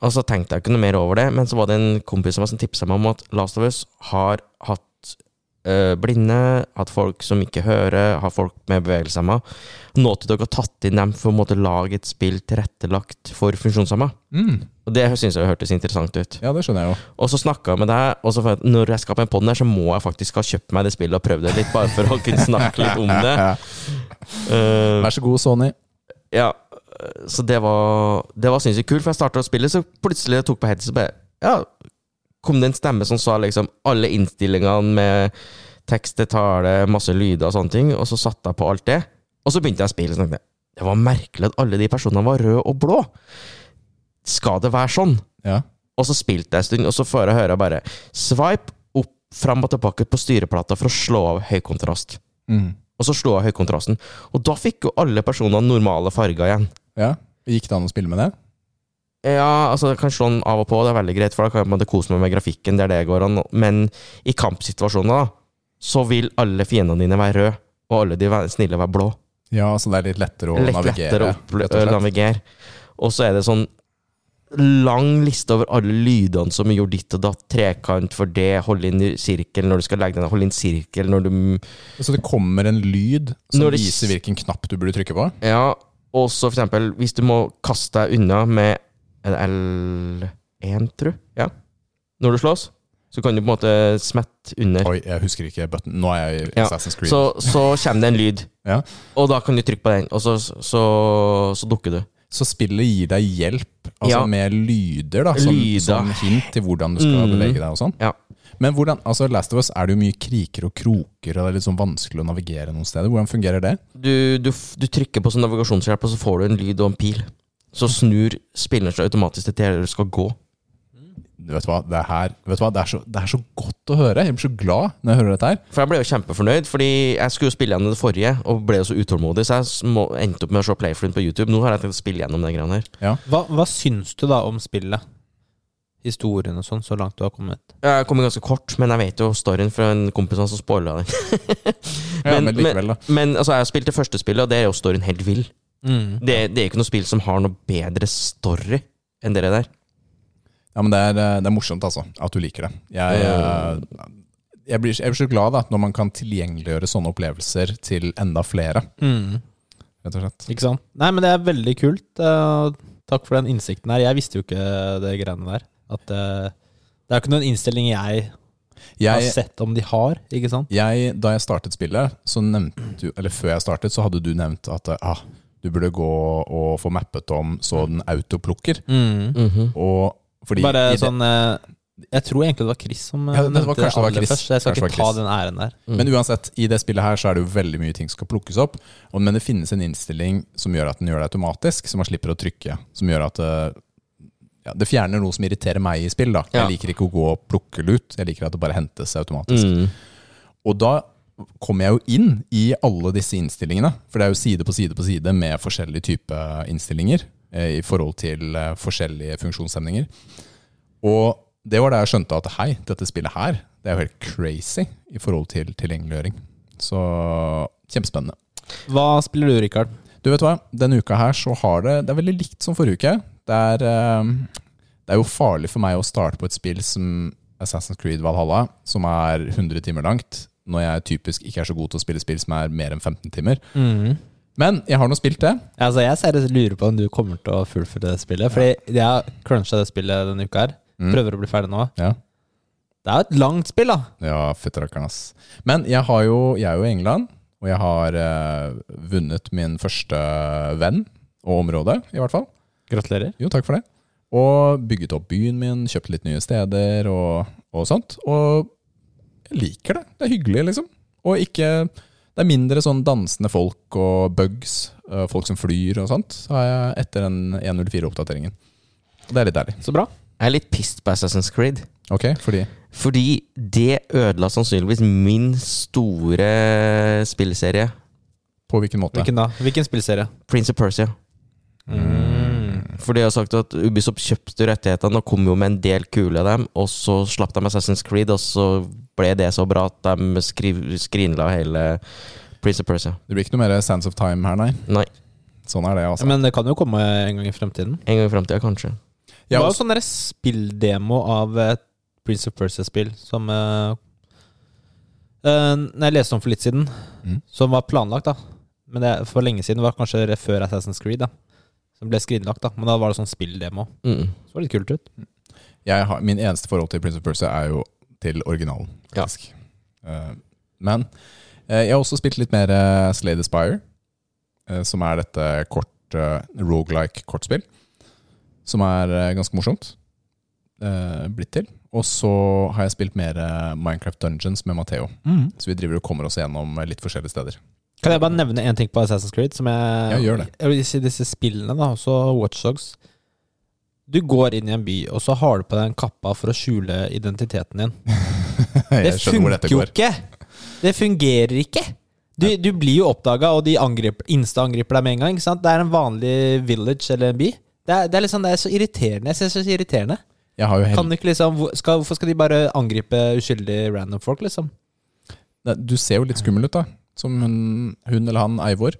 C: Og så tenkte jeg ikke noe mer over det, men så var det en kompis av meg som tipsa meg om at Last of Us har hatt øh, blinde, hatt folk som ikke hører, har folk med bevegelseshemma. Naughty Dog har tatt inn dem for å på en måte lage et spill tilrettelagt for funksjonshemma.
B: Mm.
C: Og det syns jeg hørtes interessant ut.
B: Ja, det skjønner jeg jo.
C: Og så snakka jeg med deg, og så fant jeg at når jeg skal på en podden her, så må jeg faktisk ha kjøpt meg det spillet og prøvd det litt, bare for å kunne snakke litt om det. Eh,
B: [laughs] Vær så god, Sony.
C: ja, eh, så det var, det var sinnssykt kult, for jeg starta å spille, så plutselig jeg tok på headset, så bare ja, kom det en stemme som sa liksom alle innstillingene med tekst til tale, masse lyder og sånne ting, og så satte jeg på alt det, og så begynte jeg å spille, og så tenkte jeg det var merkelig at alle de personene var røde og blå. Skal det være sånn?
B: Ja.
C: Og så spilte jeg en stund, og så får jeg høre bare Swipe opp, fram og tilbake på styreplata for å slå av høykontrast.
B: Mm.
C: Og så slo jeg av høykontrasten. Og da fikk jo alle personene normale farger igjen.
B: ja. Gikk det an å spille med det?
C: Ja, altså jeg kan slå den av og på, det er veldig greit, for da kan jeg på en måte kose meg med grafikken der det går an. Men i kampsituasjoner, da, så vil alle fiendene dine være røde, og alle de væ- snille være blå.
B: Ja, så det er litt lettere å
C: Litt
B: navigere.
C: lettere å opple-
B: rett og slett.
C: navigere. Og så er det sånn lang liste over alle lydene som er gjort ditt og datt. Trekant for det, holde inn i sirkel når du skal legge deg ned, holde inn sirkel når du
B: Så det kommer en lyd som
C: Når det-
B: viser hvilken knapp du burde trykke på?
C: Ja, og så for eksempel hvis du må kaste deg unna med en L1, tru. Ja. Når du slåss, så kan du på en måte smette under.
B: Oi, jeg husker ikke button. Nå er jeg i
C: Ja,
B: Assassin's Creed.
C: Så, så kommer det en lyd,
B: Ja.
C: og da kan du trykke på den, og så, så, så dukker du.
B: Så spillet gir deg hjelp altså
C: Ja.
B: med lyder, da, som,
C: Lyder.
B: som hint til hvordan du skal
C: Mm.
B: bevege deg og sånn.
C: Ja.
B: Men hvordan, altså Last of Us er det jo mye kriker og kroker, og det er litt sånn vanskelig å navigere noen steder. Hvordan fungerer det?
C: du, du, f- du trykker på sånn navigasjonshjelp, og så får du en lyd og en pil. Så snur spilleren seg automatisk til der du skal gå.
B: Du Vet du hva, det, er her, vet du hva? Det, er så, det er så godt å høre. Jeg blir så glad når jeg hører dette her.
C: For jeg ble jo kjempefornøyd, fordi jeg skulle jo spille gjennom det forrige, og ble jo så utålmodig, så jeg s- må, endte opp med å se playfluen på YouTube. Nå har jeg tenkt å spille gjennom den greia her.
A: [laughs] Hva, hva syns du da om spillet? Historien og sånn, så langt du har kommet.
C: Jeg kom jo ganske kort, men jeg vet jo storyen fra en kompis av oss som spoila den. [laughs]
B: Ja, men, likevel, da.
C: Men altså, jeg har spilt det første spillet, og det er jo storyen helt vill.
A: Mm.
C: Det, det er ikke noe spill som har noe bedre story enn det der.
B: Ja, men det er, eh, det er morsomt, altså. At du liker det. Jeg, eh, jeg, blir, jeg blir så glad da, når man kan tilgjengeliggjøre sånne opplevelser til enda flere. rett og slett.
A: Mm. Ikke sant? Nei, men det er veldig kult. eh, og Takk for den innsikten her. Jeg visste jo ikke det greiene der. At eh, det er jo ikke noen innstilling jeg, har
B: Jeg,
A: sett om de har, ikke sant?
B: jeg, da jeg startet spillet, så nevnte du, eller før jeg startet, så hadde du nevnt at ah, du burde gå og få mappet om så den autoplukker.
A: Mm.
C: Mhm.
B: Og fordi
A: Bare
B: i det-
A: sånn eh, Jeg tror egentlig det var Chris som eh,
B: Ja, det var-
A: nevnte det
B: kanskje det var
A: aller
B: Chris.
A: først, så jeg skal
B: Kanskje det
A: ikke
B: var
A: ta
B: Chris.
A: den æren der.
C: Mm.
B: Men uansett, i det spillet her så er det jo veldig mye ting som skal plukkes opp. og- Men det finnes en innstilling som gjør at den gjør det automatisk, så man slipper å trykke. Som gjør at eh, ja, det fjerner noe som irriterer meg i spill. da.
C: Ja.
B: Jeg liker ikke å gå og plukke lut, jeg liker at det bare hentes automatisk.
C: Mm.
B: Og da kommer jeg jo inn i alle disse innstillingene, for det er jo side på side på side med forskjellige typer innstillinger eh, i forhold til eh, forskjellige funksjonshemninger. Og det var da jeg skjønte at hei, dette spillet her, det er jo helt crazy i forhold til tilgjengeliggjøring. Så kjempespennende.
A: Hva spiller du, Rikard?
B: Du vet hva, denne uka her så har det Det er veldig likt som forrige uke. Det er, eh, det er jo farlig for meg å starte på et spill som Assassin's Creed Valhalla, som er 100 timer langt, når jeg typisk ikke er så god til å spille spill som er mer enn 15 timer.
A: Mm.
B: Men jeg har nå spilt det.
A: Altså, jeg seriøst lurer på om du kommer til å fullføre det spillet. Fordi jeg har cruncha det spillet denne uka her.
B: Mm.
A: Prøver å bli ferdig nå.
B: Ja,
A: Det er jo et langt spill, da.
B: ja fytterakkeren, ass. Men jeg, har jo, jeg er jo i England, og jeg har eh, vunnet min første venn, og område, i hvert fall.
A: Gratulerer.
B: Jo, takk for det. Og bygget opp byen min, kjøpt litt nye steder og, og sånt. Og jeg liker det. Det er hyggelig, liksom. Og ikke Det er mindre sånn dansende folk og bugs, øh, folk som flyr og sånt, har jeg etter den 1.04-oppdateringen. Og det er litt deilig.
A: Så bra.
C: Jeg er litt pissed på Assassin's Creed.
B: Ok, fordi
C: Fordi det ødela sannsynligvis min store spillserie,
B: På hvilken måte?
A: Hvilken da? Hvilken spillserie?
C: Prince of Persia.
B: Mm.
C: For de har sagt at Ubisoft kjøpte rettighetene og kom jo med en del kule av dem, og så slapp de Assassin's Creed, og så ble det så bra at de skriv, skrinla hele Prince of Persia.
B: Det blir ikke noe mer Sands of Time her, nei.
C: Nei,
B: Sånn er det, altså.
A: Men det kan jo komme en gang i fremtiden.
C: en gang i framtida, kanskje.
A: Det
B: Jeg
A: var
B: har
A: jo sånn der spilldemo av et Prince of Persia-spill som eh, eh, Når jeg leste om for litt siden,
B: Mm.
A: som var planlagt, da. Men det er for lenge siden. Det var kanskje rett før Assassin's Creed, da. Som ble skrinlagt, da. Men da var det sånn spilldemo.
C: Mm.
A: Så var det litt kult ut.
B: jeg har, min eneste forhold til Prince of Persia er jo til originalen,
C: Ja.
B: faktisk. Eh, men eh, jeg har også spilt litt mer eh, Slay the Spire, eh, som er dette kort, uh, rogelike kortspill, som er eh, ganske morsomt eh, blitt til. Og så har jeg spilt mer eh, Minecraft Dungeons med Matheo,
A: Mm.
B: så vi driver og kommer oss gjennom eh, litt forskjellige steder. [laughs]
A: Kan jeg bare nevne én ting på Assassin's Creed? Som jeg,
B: Ja, gjør det.
A: Jeg vil si disse spillene, da, også Watchdogs. Du går inn i en by, og så har du på deg en kappa for å skjule identiteten din.
B: jeg
A: Det
B: skjønner hvor
A: funker
B: dette
A: jo
B: går.
A: ikke! Det fungerer ikke! Du, du blir jo oppdaga, og de angriper, insta-angriper deg med en gang. Ikke sant? Det er en vanlig village eller en by. Det er, det er, liksom, det er så irriterende. Jeg synes det er så irriterende.
B: Jeg har jo hel
A: Kan du ikke liksom, hvor- skal, hvorfor skal de bare angripe uskyldige random folk, liksom?
B: Nei, Du ser jo litt skummel ut, da. Som hun, hun eller han, Eivor.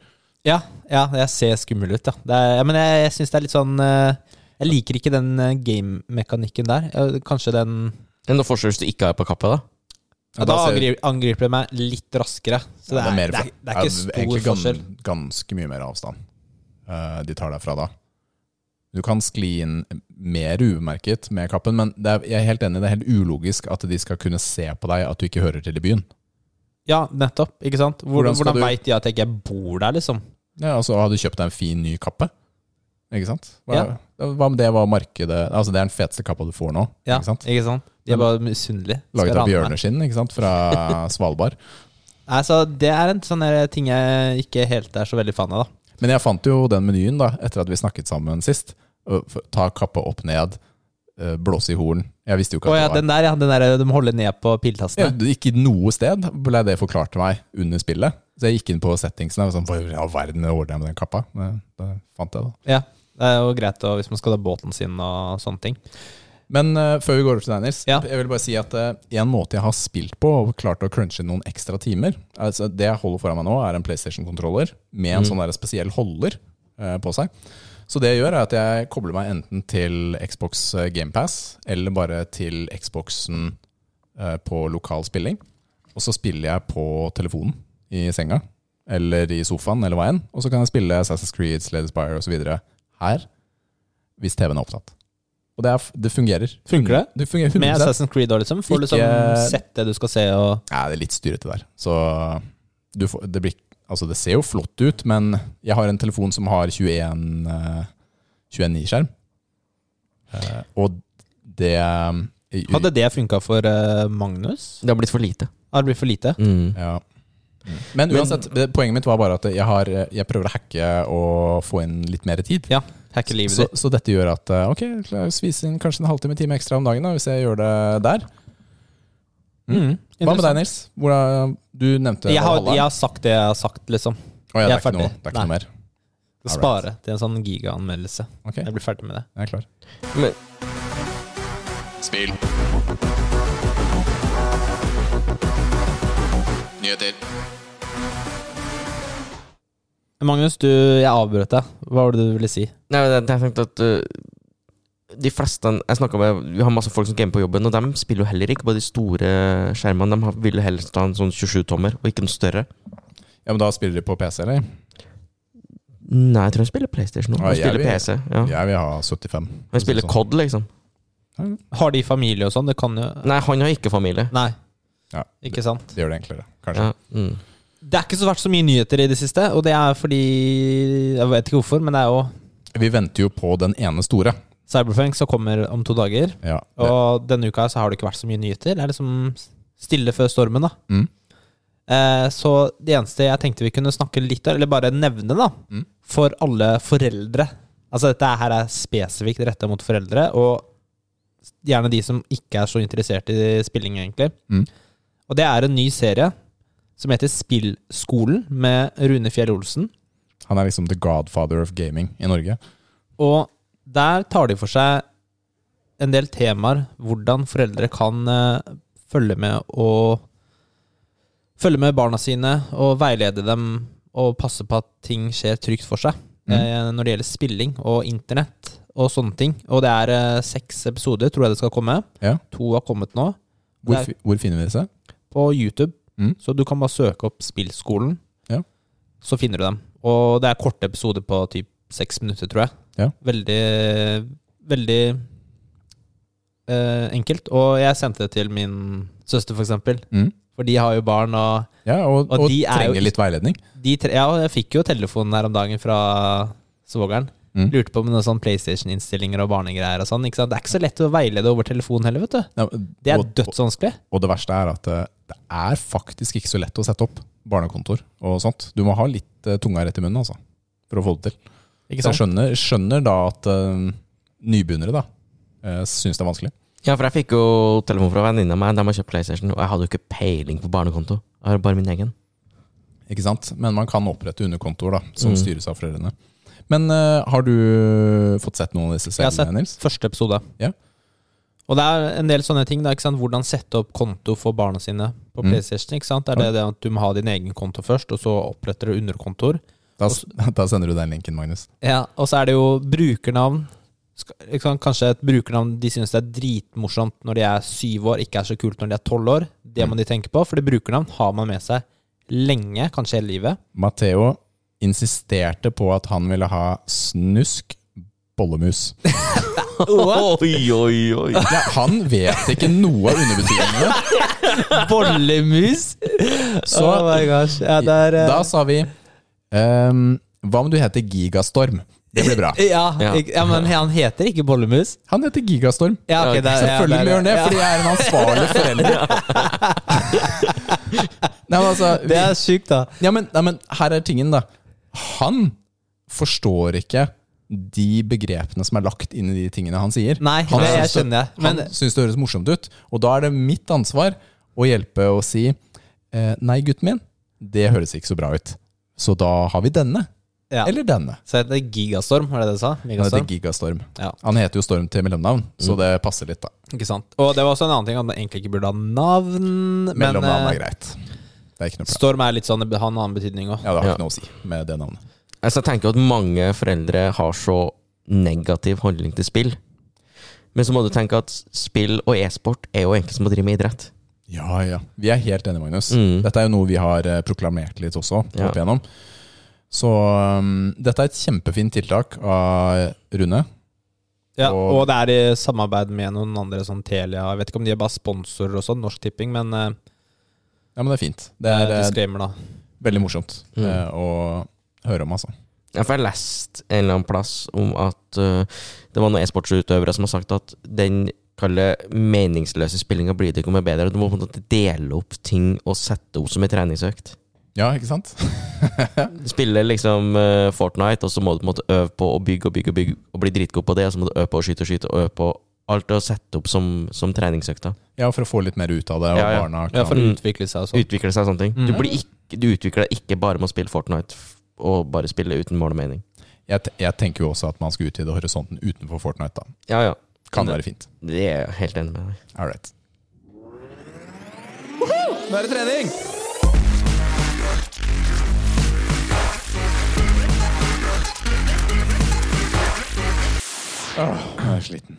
A: Ja, ja jeg ser skummel ut, ja. Det er, ja, men jeg, jeg syns det er litt sånn eh, Jeg liker ikke den eh, game-mekanikken der. Eh, Kanskje den
C: Men noe forskjell hvis du ikke er på kappa, da?
A: ja, Da angri- angriper de meg litt raskere. Så det
B: Ja,
A: er, det
B: mer
A: er, det er,
B: ja,
A: ikke stor
B: egentlig gan-
A: forskjell.
B: Ganske mye mer avstand eh, de tar deg fra da. Du kan skli inn mer umerket med kappen, men det er, jeg er helt enig, det er helt ulogisk at de skal kunne se på deg at du ikke hører til i byen.
A: Ja, nettopp. Ikke sant? Hvor,
B: Hvordan
A: hvordan
B: skal
A: hvordan
B: du-
A: veit de at jeg ikke bor der, liksom?
B: Ja, altså, har du kjøpt deg en fin ny kappe? Ikke sant? Hva,
A: Ja.
B: hva om det var markedet Altså, det er den feteste kappa du får nå.
A: Ja,
B: Ikke sant?
A: De er bare misunnelige.
B: Laget
A: Skal
B: av
A: rane meg.
B: bjørneskinn, ikke sant?
A: [laughs]
B: Fra Svalbard.
A: Altså, det er en sånn der ting jeg ikke helt er så veldig fan av, da.
B: Men jeg fant jo den menyen da, etter at vi snakket sammen sist. Ø, f- Ta kappa opp ned, ø, blåse i horn. Jeg visste jo ikke
A: Å
B: at
A: ja,
B: det var
A: den der, ja. Den der eh, de holder ned på
B: ja,
A: piltastene.
B: det- Ikke noe sted ble det forklart til meg under spillet. Så jeg gikk inn på settingsene og sånn, hva i all verden ordner jeg med den kappa? Men Da fant jeg det.
A: Ja. Det er jo greit da, hvis man skal ta båten sin og sånne ting.
B: Men ø, før vi går over til deg, Nils.
A: Ja.
B: Jeg vil bare si at ø, en måte jeg har spilt på og klart å crunche noen ekstra timer altså Det jeg holder foran meg nå, er en PlayStation-kontroller med en sånn der spesiell holder ø, på seg. Så det jeg gjør, er at jeg kobler meg enten til Xbox GamePass eller bare til Xboxen eh, på lokal spilling. Og så spiller jeg på telefonen i senga. eller i sofaen, eller hva enn. Og så kan jeg spille Assassin's Creed, Slade Spire osv. her, hvis TV-en er opptatt. Og det, er, f- det fungerer.
A: Funker det?
B: Det fungerer 100
A: Med Assassin's Creed da, liksom? Får du
B: Ikke-
A: liksom sett det du skal se, og
B: Nei, det er litt styrete der. Så du får, det, blir, altså det ser jo flott ut, men jeg har en telefon som har 21 eh, 21.9-skjerm. Eh, og det eh,
A: Hadde det funka for eh, Magnus?
C: Det har blitt for lite.
A: Har det blitt for lite?
C: Mm.
B: ja. Men uansett, det, poenget mitt var bare at jeg, har, eh, jeg prøver å hacke og få inn litt mer tid.
A: Ja. Hacker livet
B: Så,
A: ditt.
B: så dette gjør at eh, Ok, la oss vise inn kanskje en halvtime time ekstra om dagen da, hvis jeg gjør det der.
A: Mm.
B: Hva med deg, Nils? Hvordan, du nevnte
A: Jeg har,
B: Valhalla.
A: jeg har sagt det jeg har sagt, liksom.
B: Å ja, det,
A: jeg
B: er
A: er
B: ikke noe,
A: ferdig.
B: det er ikke noe mer. Alright.
A: Spare til en sånn gigaanmeldelse.
B: Ok,
A: Jeg blir ferdig med det.
B: jeg er klar.
C: Men
D: Spill. Nyheter.
A: Magnus, du, jeg avbrøt deg. Hva var det du ville si?
C: Nei, jeg, jeg tenkte at øh, de fleste jeg snakket med Vi har masse folk som gamer på jobben, og de spiller jo heller ikke på de store skjermene. De har- vil heller ta en sånn 27-tommer, og ikke en større.
B: Ja, men da spiller de på PC, eller?
C: Nei, jeg tror jeg spiller PlayStation nå.
B: Ja,
C: Jeg
B: jeg
C: spiller
B: vil-
C: PC. Ja.
B: Jeg vil ha 75.
C: Jeg spiller
B: Sånn.
C: COD, liksom.
A: Har de familie og sånn? Det kan jo
C: Nei, han har ikke familie.
A: Nei.
B: Ja.
A: Ikke sant?
B: Det gjør det enklere, kanskje.
C: Ja, mm.
A: Det er ikke så vært så mye nyheter i det siste, og det er fordi Jeg vet ikke hvorfor, men det er jo
B: Vi venter jo på den ene store.
A: Cyberfunk som kommer om to dager.
B: Ja, det.
A: Og denne uka så har det ikke vært så mye nyheter. Det er liksom stille før stormen, da.
B: Mm.
A: Eh, så det eneste jeg tenkte vi kunne snakke litt om, eller bare nevne, da,
B: Mm.
A: for alle foreldre Altså dette her er spesifikt retta mot foreldre, og gjerne de som ikke er så interessert i spilling, egentlig.
B: Mm.
A: Og det er en ny serie som heter Spillskolen, med Rune Fjell Olsen.
B: Han er liksom the godfather of gaming i Norge.
A: Og der tar de for seg en del temaer. Hvordan foreldre kan eh, følge med og Følge med barna sine og veilede dem og passe på at ting skjer trygt for seg.
B: Mm.
A: eh, Når det gjelder spilling og internett og sånne ting. Og det er eh, seks episoder, tror jeg det skal komme.
B: Ja.
A: To har kommet nå
B: Hvor,
A: Det
B: fi- hvor finner vi disse?
A: på YouTube.
B: Mm.
A: Så du kan bare søke opp Spillskolen,
B: Ja.
A: så finner du dem. Og det er korte episoder på typ seks minutter, tror jeg.
B: Ja.
A: Veldig, veldig eh, enkelt. Og jeg sendte det til min søster, for eksempel.
B: Mm.
A: For de har jo barn, og
B: Ja, og,
A: Og
B: og,
A: de er jo
B: trenger
A: ikke-
B: litt veiledning.
A: de tre Ja, jeg fikk jo telefonen her om dagen fra svogeren.
B: Mm.
A: Lurte på om noen sånn PlayStation-innstillinger og barnegreier og sånn. ikke sant? Det er ikke så lett å veilede over telefon heller, vet du.
B: Ja,
A: Det er
B: og, og,
A: dødsvanskelig.
B: og det verste er at eh, det er faktisk ikke så lett å sette opp barnekontor og sånt. Du må ha litt eh, tunga rett i munnen, altså, for å få det til.
A: Ikke
B: Så jeg
A: sant?
B: skjønner, skjønner da at eh, nybegynnere da, uh, syns det er vanskelig.
C: ja, for jeg fikk jo telefon fra venninna mi. De har kjøpt PlayStation, og jeg hadde jo ikke peiling på barnekonto. Jeg har bare min egen.
B: Ikke sant? Men man kan opprette underkontor da, som
C: Mm.
B: styres av foreldrene. Men eh, har du fått sett noen av disse
A: Jeg har sett
B: seriene, Nils?
A: Første episode.
B: Ja.
A: Og det er en del sånne ting. Da, ikke sant? Hvordan sette opp konto for barna sine på
B: Mm.
A: PlayStation. Ikke sant? Det er det, det at du må ha din egen konto først, og så oppretter du underkontor.
B: Da, s- [laughs] da sender du den linken, Magnus.
A: Ja, og så er det jo brukernavn. Skal- ikke sant? Kanskje et brukernavn de syns det er dritmorsomt når de er syv år, ikke er så kult når de er tolv år. Det
B: Mm.
A: må de tenke på, for det brukernavn har man med seg lenge, kanskje hele
B: [laughs]
A: livet.
B: Matheo insisterte på at han ville ha snusk bollemus.
C: Oi, oi, oi.
B: Ja, han vet ikke noe av underbetydningene.
A: Bollemus!
B: Så
A: oh my gosh. Ja, det er, eh,
B: da sa vi ehm, Hva om du heter Gigastorm? Det blir bra.
A: eh, ja,
C: Ja.
A: ikke- ja, men han heter ikke Bollemus.
B: Han heter Gigastorm.
A: Ja, ok,
C: Ja,
A: det er- ja,
B: Selvfølgelig
A: er-
B: gjør han det,
A: ja.
B: fordi jeg er en ansvarlig forelder. [laughs] Nei, men altså,
A: [laughs] Det er sykt, da.
B: Ja, men, nei, men her er tingen, da. Han forstår ikke de begrepene som er lagt inn i de tingene han sier.
A: Nei,
B: han
A: det- jeg
B: syns
A: skjønner jeg, men-
B: Han syns det høres morsomt ut, og da er det mitt ansvar å hjelpe og si eh, Nei, gutten min, det høres ikke så bra ut. Så da har vi denne.
A: Ja.
B: Eller denne.
A: Så heter det Gigastorm, var det det du sa?
B: Han heter
A: Megastorm?
B: Gigastorm.
A: Ja. Mm.
B: Han heter jo Storm til mellomnavn, så det passer litt, da.
A: Ikke sant. Og det var også en annen ting, at han egentlig ikke burde ha navn. Men
B: Mellomnavn
A: eh,
B: er greit. Det er ikke noe problem.
A: Storm er litt sånn, det har en annen betydning òg.
B: Ja, det har
C: Ja.
B: ikke noe å si med det navnet.
C: Altså, jeg tenker jo at mange foreldre har så negativ holdning til spill. Men så må du tenke at spill og e-sport er jo egentlig som å drive med idrett.
B: Ja, ja. Vi er helt enige, Magnus.
C: Mm.
B: Dette er jo noe vi har eh, proklamert litt også.
C: Ja.
B: opp igjennom. Så um, dette er et kjempefint tiltak av Rune.
A: Ja,
B: Og-
A: og det er i samarbeid med noen andre, sånn Telia Jeg vet ikke om de er bare sponsorer og sånn, Norsk Tipping, men eh,
B: Ja, men det er fint. Det er eh,
A: disclaimer, da.
B: veldig morsomt
C: Mm.
B: eh, å høre om, altså.
C: Ja, for jeg har lest en eller annen plass om at eh, det var noen e-sportsutøvere som har sagt at den kalle meningsløse spillinga blir det ikke med bedre. Du må på en måte dele opp ting og sette opp som en treningsøkt.
B: Ja, ikke sant? [laughs]
C: Spille liksom eh, Fortnite, og så må du på en måte øve på å bygge og bygge og bygge og bli dritgod på det, og så må du øve på å skyte og skyte og øve på alt det å sette opp som, som treningsøkta.
B: Ja, for å få litt mer ut av det. Og
C: Ja, ja.
B: barna kan
A: Ja, for å
C: Mm.
A: utvikle seg og sånn.
C: Utvikle seg og sånne ting. Du,
B: Mhm.
C: blir ikke, du utvikler deg ikke bare med å spille Fortnite f- og bare spille uten mål og mening.
B: jeg, te- jeg tenker jo også at man skal utvide horisonten utenfor Fortnite. da.
C: Ja, ja.
B: Kan
C: Det-
B: være fint.
C: Det er jeg helt enig med deg.
B: All right.
A: Nå er det trening!
B: Ah, Jeg er sliten.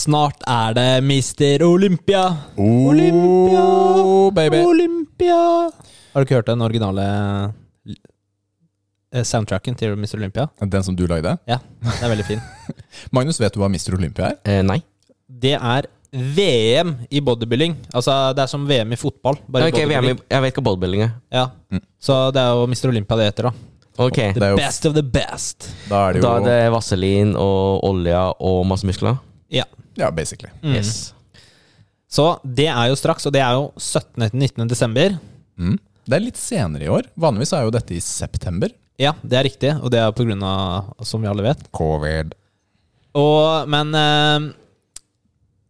A: Snart er det Mister Olympia! Olympia!
B: Oh, baby!
A: Olympia! Har du ikke hørt den originale eh, soundtracken til Mr. Olympia?
B: Den som du lagde?
A: Ja, den er veldig fin.
B: Magnus, vet du hva Mr. Olympia er?
C: Eh, nei.
A: Det er VM i bodybuilding. Altså, det er som VM i fotball. Bare
C: Ok, VM,
A: bodybuilding.
C: i- jeg vet hva bodybuilding er.
A: Ja. Så det er jo Mr. Olympia det heter, da.
C: Ok,
B: Mm. Det er jo,
A: Best of the best.
B: da er det jo
C: Da er det vaselin og olje og masse muskler.
A: Ja.
B: Ja, basically.
C: Yes.
A: Så det er jo straks, og det er jo 17. til 19. desember.
B: Mm. Det er litt senere i år. Vanligvis er jo dette i september.
A: Ja, det er riktig, og det er på grunn av, som vi alle vet.
B: Covid.
A: Og, men eh,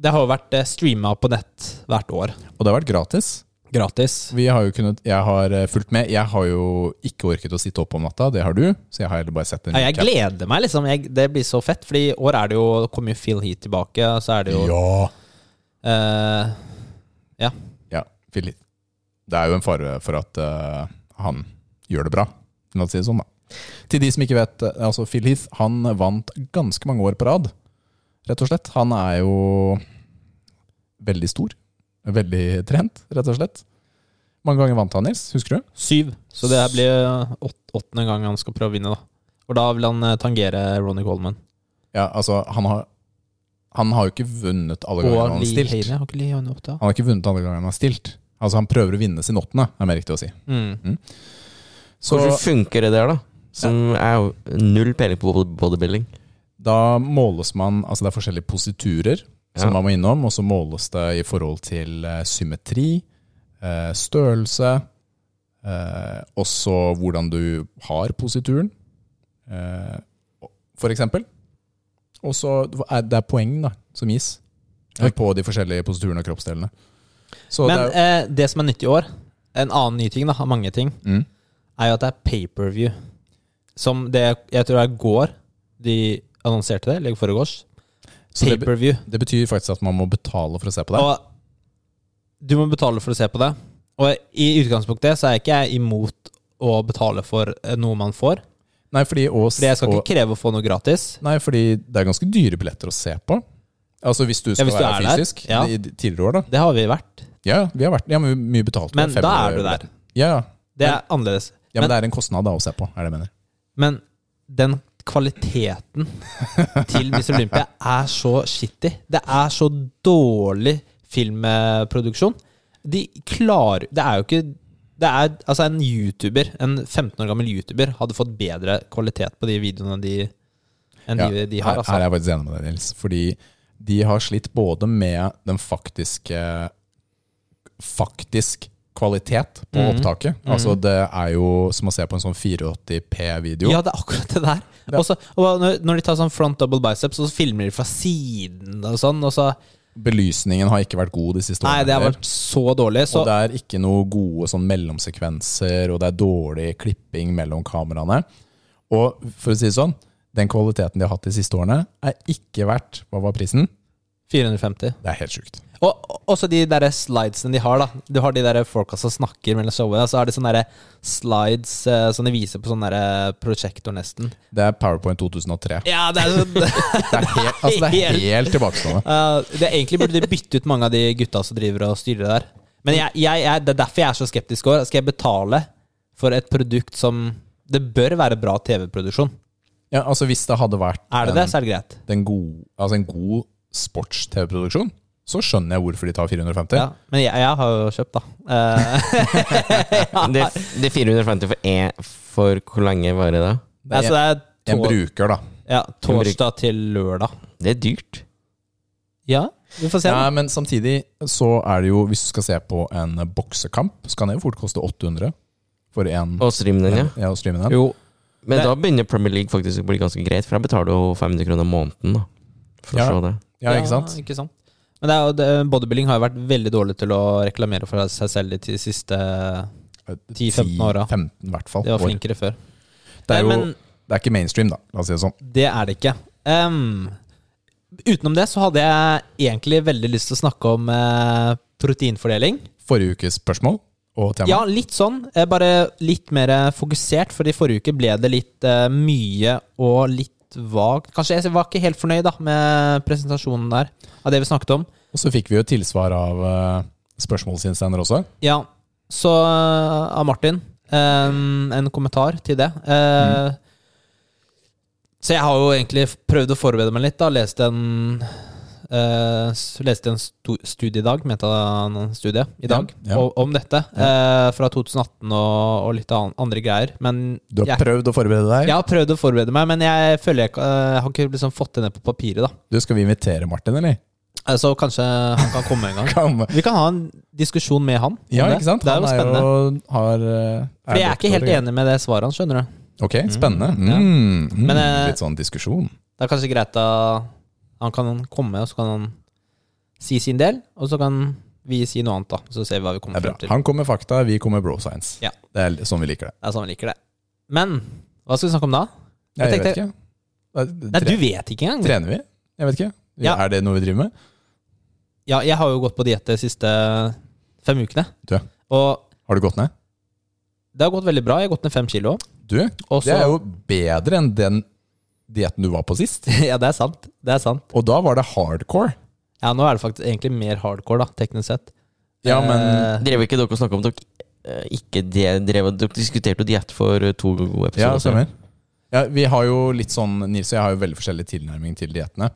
A: det har jo vært streama på nett hvert år.
B: Og det har vært gratis.
A: Gratis.
B: Vi har jo kunnet, jeg har eh, fulgt med. Jeg har jo ikke orket å sitte opp om natta, det har du. Så jeg har heller bare sett en
A: Ja, jeg gleder meg, liksom. Jeg, det blir så fett. Fordi i år er det jo, kommer jo Phil Heat tilbake, og så er det jo
B: Ja.
A: eh, Ja.
B: ja Philip. Det er jo en fare for at eh, han gjør det bra. La oss si det sånn, da. Til de som ikke vet, eh, altså Phil Heath han vant ganske mange år på rad, rett og slett. Han er jo veldig stor. Veldig trent, rett og slett. Mange ganger vant han, Nils. Husker du?
A: Syv. Så det her blir eh, åt, åttende gang han skal prøve å vinne, da. Og da vil han eh, tangere Ronny Coleman.
B: Ja, altså, han har Han har jo ikke vunnet alle
A: Og
B: gangene han har
A: Lee
B: stilt.
A: Haley. Har ikke Lee Haley åtte?
B: Han har ikke vunnet alle gangene han har stilt. Altså Han prøver å vinne sin åttende, er mer riktig å si.
A: Mm.
B: Så
C: Hvordan funker det der, da? Som er jo null peiling på bod-
B: [laughs]
C: bodybuilding.
B: da måles man Altså det er forskjellige positurer som
C: Ja.
B: man må innom, og så måles det i forhold til eh, symmetri, eh, størrelse, eh, også hvordan du har posituren, eh, for eksempel. Og så er det er poeng da, som gis eh,
A: Ok.
B: på de forskjellige positurene og kroppsdelene. Så
A: Men
B: det er,
A: eh, det som er nytt i år, en annen ny ting, da, av mange ting,
B: mm,
A: er jo at det er pay-per-view Som det jeg tror det er går de annonserte det, eller i forgårs.
B: Så det be-
A: Pay-per-view
B: det betyr faktisk at man må betale for å se på det.
A: Og du må betale for å se på det. Og i utgangspunktet så er ikke jeg imot å betale for eh, noe man får.
B: Nei, fordi å, s-
A: For jeg skal
B: å-
A: ikke kreve å få noe gratis.
B: Nei, fordi det er ganske dyre billetter å se på. Altså hvis du skal
A: hvis du
B: være
A: er der,
B: fysisk.
A: ja.
B: I de- tidligere år, da.
A: Det har vi vært.
B: Ja, vi har vært, ja, men mye betalt. for
A: Men
B: fem
A: da er du
B: euro
A: der.
B: billetter. Ja, ja.
A: Det er annerledes.
B: ja men,
A: Men-
B: det er en kostnad da å se på, er det jeg mener.
A: Men den kvaliteten til Miss Olympia er så shitty. Det er så dårlig filmproduksjon. De klarer Det er jo ikke det er, altså En YouTuber, en 15 år gammel YouTuber hadde fått bedre kvalitet på de videoene de, enn de,
B: Ja,
A: de har.
B: her,
A: Altså.
B: her er jeg faktisk enig med deg, Nils. Fordi de har slitt både med den faktiske Faktisk kvalitet på
A: Mhm.
B: opptaket. Altså det er jo som å se på en sånn 480p-video.
A: Ja, det er akkurat det der.
B: Ja.
A: Og så- og når, når de tar sånn front double biceps, og så filmer de fra siden og sånn, og så
B: Belysningen har ikke vært god de siste
A: Nei,
B: årene.
A: det har
B: heller.
A: vært så dårlig. Så
B: Og det er ikke noe gode sånn mellomsekvenser, og det er dårlig klipping mellom kameraene. Og for å si det sånn, den kvaliteten de har hatt de siste årene, er ikke verdt Hva var prisen?
A: 450.
B: Det er helt sjukt.
A: Og og også de der slidesene de har, da. Du har de der folka som snakker mellom showene, og så er det sånne der slides eh, som de viser på sånn der prosjektor, nesten.
B: Det er Powerpoint 2003.
A: Ja, det er sånn
B: Det er helt, altså, det er helt tilbakestående.
A: [laughs] Eh, det, egentlig burde de bytte ut mange av de gutta som driver og styrer der. Men jeg, jeg, jeg, det er derfor jeg er så skeptisk òg. Skal jeg betale for et produkt som Det bør være bra TV-produksjon.
B: Ja, altså, hvis det hadde vært
A: Er det
B: en,
A: det, så er det greit.
B: Den gode, altså, en god sports-TV-produksjon, så skjønner jeg hvorfor de tar 450.
A: Ja. Men jeg, jeg har jo kjøpt, da. Eh, [laughs] ja.
C: Det, det er 450 for én For hvor lenge var det da?
B: Det er
A: altså, det er
B: En
A: tor
B: bruker, da.
A: ja, torsdag til lørdag.
C: Det er dyrt.
A: Ja, vi får se.
B: Ja,
A: da.
B: men samtidig så er det jo, hvis du skal se på en boksekamp, så kan det jo fort koste 800 for en
C: Og streame den, ja.
B: en- ja, å streame den.
A: Jo.
C: Men
A: Det-
C: da begynner Premier League faktisk å bli ganske greit, for jeg betaler jo 500 kroner måneden da for å
B: Ja.
C: se det.
B: Ja, ikke sant?
A: ikke sant? Men det er, jo- det- bodybuilding har jo vært veldig dårlig til å reklamere for seg selv de siste De 10-15 år, da.
B: 10-15 Eh, i hvert fall.
A: var
B: år.
A: flinkere før.
B: Det
A: Nei,
B: er jo
A: men-
B: det er ikke mainstream, da. La oss si det sånn.
A: Det er det ikke. Ehm, utenom det så hadde jeg egentlig veldig lyst til å snakke om eh, proteinfordeling.
B: Forrige ukes spørsmål og tema.
A: Ja, litt sånn. eh, Bare litt mer eh, fokusert, for i forrige uke ble det litt eh, mye og litt vagt. Kanskje jeg var ikke helt fornøyd da, med presentasjonen der, av det vi snakket om.
B: Og så fikk vi jo et tilsvar av uh, spørsmålsinnsender også.
A: Ja, så eh, av Martin eh, en kommentar til det. Eh,
B: Mm.
A: Så jeg har jo egentlig prøvd å forberede meg litt. da Leste en, eh, s- leste en sto- studie i dag, metastudie i
B: Ja,
A: dag,
B: ja.
A: o- om dette. eh, fra 2018 og, og litt an andre greier. Men
B: Du har
A: jeg,
B: prøvd å forberede deg.
A: jeg har prøvd å forberede meg, men jeg føler jeg, ikke- eh, har ikke liksom fått det ned på papiret. da
B: Du, skal vi invitere Martin, eller? [laughs]
A: Eh, Så kanskje han kan komme en gang.
B: Kom.
A: Vi kan ha en diskusjon med han. om
B: Ja,
A: det.
B: ikke sant?
A: Det er jo spennende.
B: jo har, eh,
A: For jeg er ikke helt
B: doktor, ja.
A: enig med det svaret hans, skjønner du.
B: Ok, spennende. Mm,
A: ja.
B: mm,
A: Men, eh,
B: litt sånn diskusjon.
A: Det er kanskje greit at han kan komme, og så kan han si sin del, og så kan vi si noe annet, da. Så ser vi hva vi
B: Det
A: kommer
B: er bra.
A: frem til.
B: Han kommer med fakta, vi kommer med bro science.
A: Mm. Ja.
B: Det er sånn vi liker det.
A: Det er sånn vi liker det. Men hva skal vi snakke om da?
B: Jeg,
A: Jeg
B: vet ikke. Det
A: Nei,
B: er-
A: du vet ikke engang.
B: Trener vi? Jeg vet ikke.
A: Ja.
B: Er det noe vi driver med?
A: Ja, jeg har jo gått på diett de siste fem ukene.
B: Du.
A: Og
B: Har du gått ned?
A: det har gått veldig bra. Jeg har gått ned fem kilo.
B: Du,
A: Og
B: det
A: så-
B: er jo bedre enn den dietten du var på
A: [laughs]
B: sist.
A: ja, det er sant. Det er sant.
B: Og da var det hardcore.
A: Ja, nå er det faktisk egentlig mer hardcore, da, teknisk sett.
B: Ja,
A: Eh,
B: men
C: Drev ikke dere og snakka om dere eh, ikke de, drev, Dere diskuterte jo diett for eh, to gode
B: Ja,
C: episoder
B: stemmer. Ja, vi har jo litt sånn, Nils og jeg har jo veldig forskjellig tilnærming til diettene.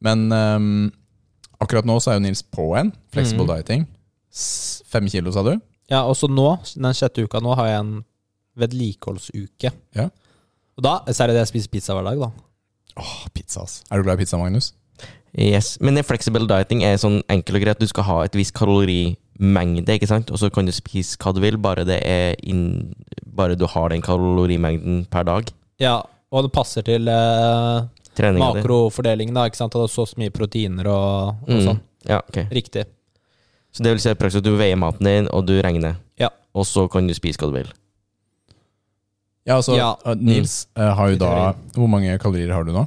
B: Men ehm, akkurat nå så er jo Nils på en. Flexible dieting. S- Fem kilo, sa du?
A: Ja, og så nå, den sjette uka nå, har jeg en vedlikeholdsuke.
B: Ja.
A: Og da, så er det det jeg spiser pizza hver dag, da.
B: Åh, pizza, ass. Er du glad i pizza, Magnus?
C: Yes. Men det flexible dieting er sånn enkel og greit. Du skal ha et visst kalorimengde, ikke sant? og så kan du spise hva du vil, bare, det er inn, bare du har den kalorimengden per dag.
A: Ja, og det passer til eh,
C: Treninga di.
A: makrofordelingen, da. Ikke sant? At det er så mye proteiner og, og
C: Mm.
A: sånn.
C: Ja, ok.
A: Riktig.
C: Så det vil si i praksis at du veier maten din, og du regner.
A: Ja.
C: Og så kan du spise hva du vil.
B: Ja, altså,
A: Ja.
B: eh, Nils eh, har
A: I
B: jo da Hvor mange kalorier har du nå?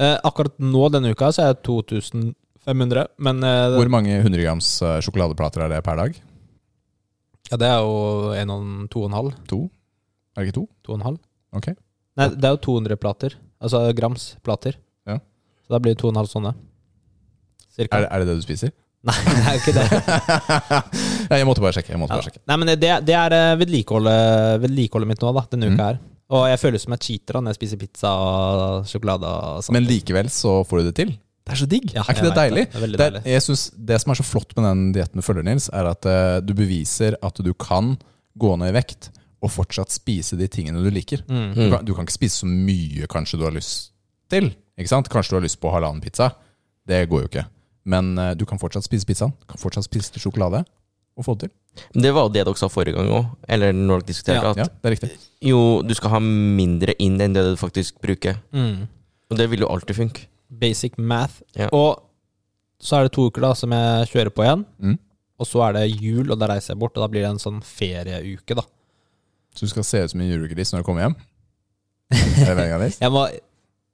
A: Eh, akkurat nå denne uka så er jeg 2500, men eh,
B: Hvor mange 100 grams eh, sjokoladeplater er det per dag?
A: ja, det er jo en og en- to og en halv.
B: To? Er det ikke to?
A: To og en halv.
B: Ok.
A: Nei, det er jo 200 plater. Altså grams plater.
B: Ja.
A: Så da blir det to og en halv sånne. Cirka.
B: Er, er det det du spiser?
A: Nei, [laughs] det er jo ikke det.
B: [laughs] Nei, jeg måtte bare sjekke. Jeg måtte
A: Ja.
B: bare sjekke.
A: Nei, men det, det er eh, vedlikeholdet, vedlikeholdet mitt nå, da, denne
B: Mm.
A: uka her. Og jeg føler som et cheater da, når jeg spiser pizza og sjokolade og sånt.
B: Men likevel så får du det til. Det er så digg.
A: Ja,
B: er ikke
A: jeg
B: det
A: vet
B: deilig?
A: det. Det er veldig
B: Det, er-
A: deilig.
B: jeg synes det som er så flott med den dietten du følger, Nils, er at eh, du beviser at du kan gå ned i vekt og fortsatt spise de tingene du liker.
A: Mm,
B: Du,
C: Mm.
B: kan, du kan ikke spise så mye kanskje du har lyst til. Ikke sant? Kanskje du har lyst på halvannen pizza. Det går jo ikke. Men eh, du kan fortsatt spise pizzaen. Du kan fortsatt spise sjokolade. Og få det til.
C: Det var jo det dere sa forrige gang òg, eller når dere diskuterte,
A: Ja.
C: at
B: Ja, det er riktig.
C: jo, du skal ha mindre inn enn det du faktisk bruker.
A: Mm.
C: Og det vil jo alltid funke.
A: Basic math.
C: Ja.
A: Og så er det to uker da som jeg kjører på igjen.
B: Mm.
A: Og så er det jul, og da reiser jeg bort. Og da blir det en sånn ferieuke,
B: [laughs]
A: da. [laughs]
B: Så du skal se ut som en julegris når du kommer hjem? Er det meningen, Nils?
A: Jeg må,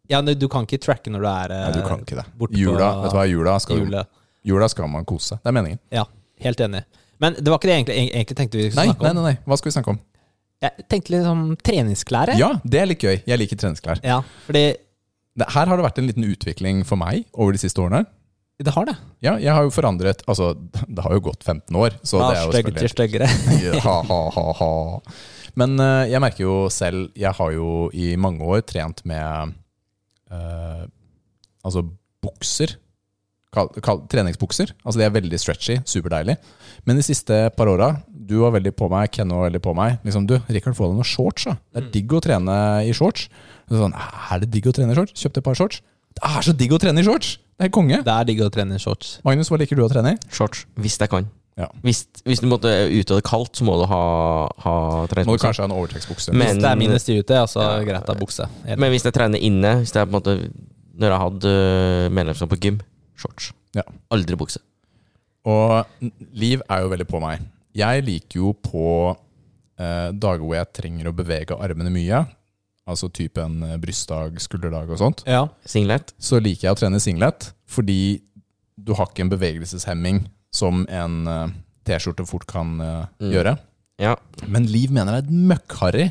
A: Ja, men du kan ikke tracke når du er eh,
B: Nei, du kan ikke det.
A: bort på-
B: Jula, vet du hva, jula skal,
A: jula.
B: jula skal man kose seg. Det er meningen.
A: Ja, helt enig. Men det var ikke det jeg egentlig, jeg- egentlig tenkte vi skulle
B: Nei,
A: snakke
B: nei,
A: om.
B: nei, nei. Hva skal vi snakke om?
A: Jeg tenkte litt om treningsklær. jeg.
B: Ja, det er litt gøy. Jeg liker treningsklær.
A: ja, fordi
B: Det- Her har det vært en liten utvikling for meg over de siste årene.
A: det har det.
B: Ja, jeg har jo forandret Altså, [laughs] det har jo gått 15 år, så det er jo
A: stygg til
B: selvfølgelig
A: styggere.
B: [laughs] ha, ha, ha, ha. Men eh, jeg merker jo selv Jeg har jo i mange år trent med eh, Altså bukser. Kall, kall, treningsbukser. Altså De er veldig stretchy, superdeilig. Men de siste par åra Du var veldig på meg, Kenno var veldig på meg. Liksom, du, Rikard, få deg noen shorts. da Det er digg å trene i shorts. Og så Sånn, er det digg å trene i shorts? Kjøpte et par shorts. Det er så digg å trene i shorts! Det er konge.
A: [laughs] Det er digg å trene i shorts.
B: Magnus, hva liker du å trene i?
C: Shorts, hvis jeg kan.
B: Ja.
C: Hvis, hvis du måtte ut og det er kaldt, så må du ha, ha
B: Må du
C: treningsbukse.
B: kanskje ha en overtrekksbukse.
C: Men-
A: Hvis det er minus 10 ute, ja, så
C: Ja.
A: greit det er bukse. Helt-
C: Men hvis jeg trener inne, hvis jeg på en måte Når jeg hadde eh, medlemskap på gym, shorts.
B: Ja.
C: Aldri bukse.
B: Og Liv er jo veldig på meg. Jeg liker jo på eh, dager hvor jeg trenger å bevege armene mye, altså type en eh, brystdag, skulderdag og sånt,
A: Ja.
C: Singlet.
B: så liker jeg å trene singlet, fordi du har ikke en bevegelseshemming som en eh, T-skjorte fort kan eh,
C: Mm.
B: gjøre.
C: Ja.
B: Men Liv mener det er et møkkharry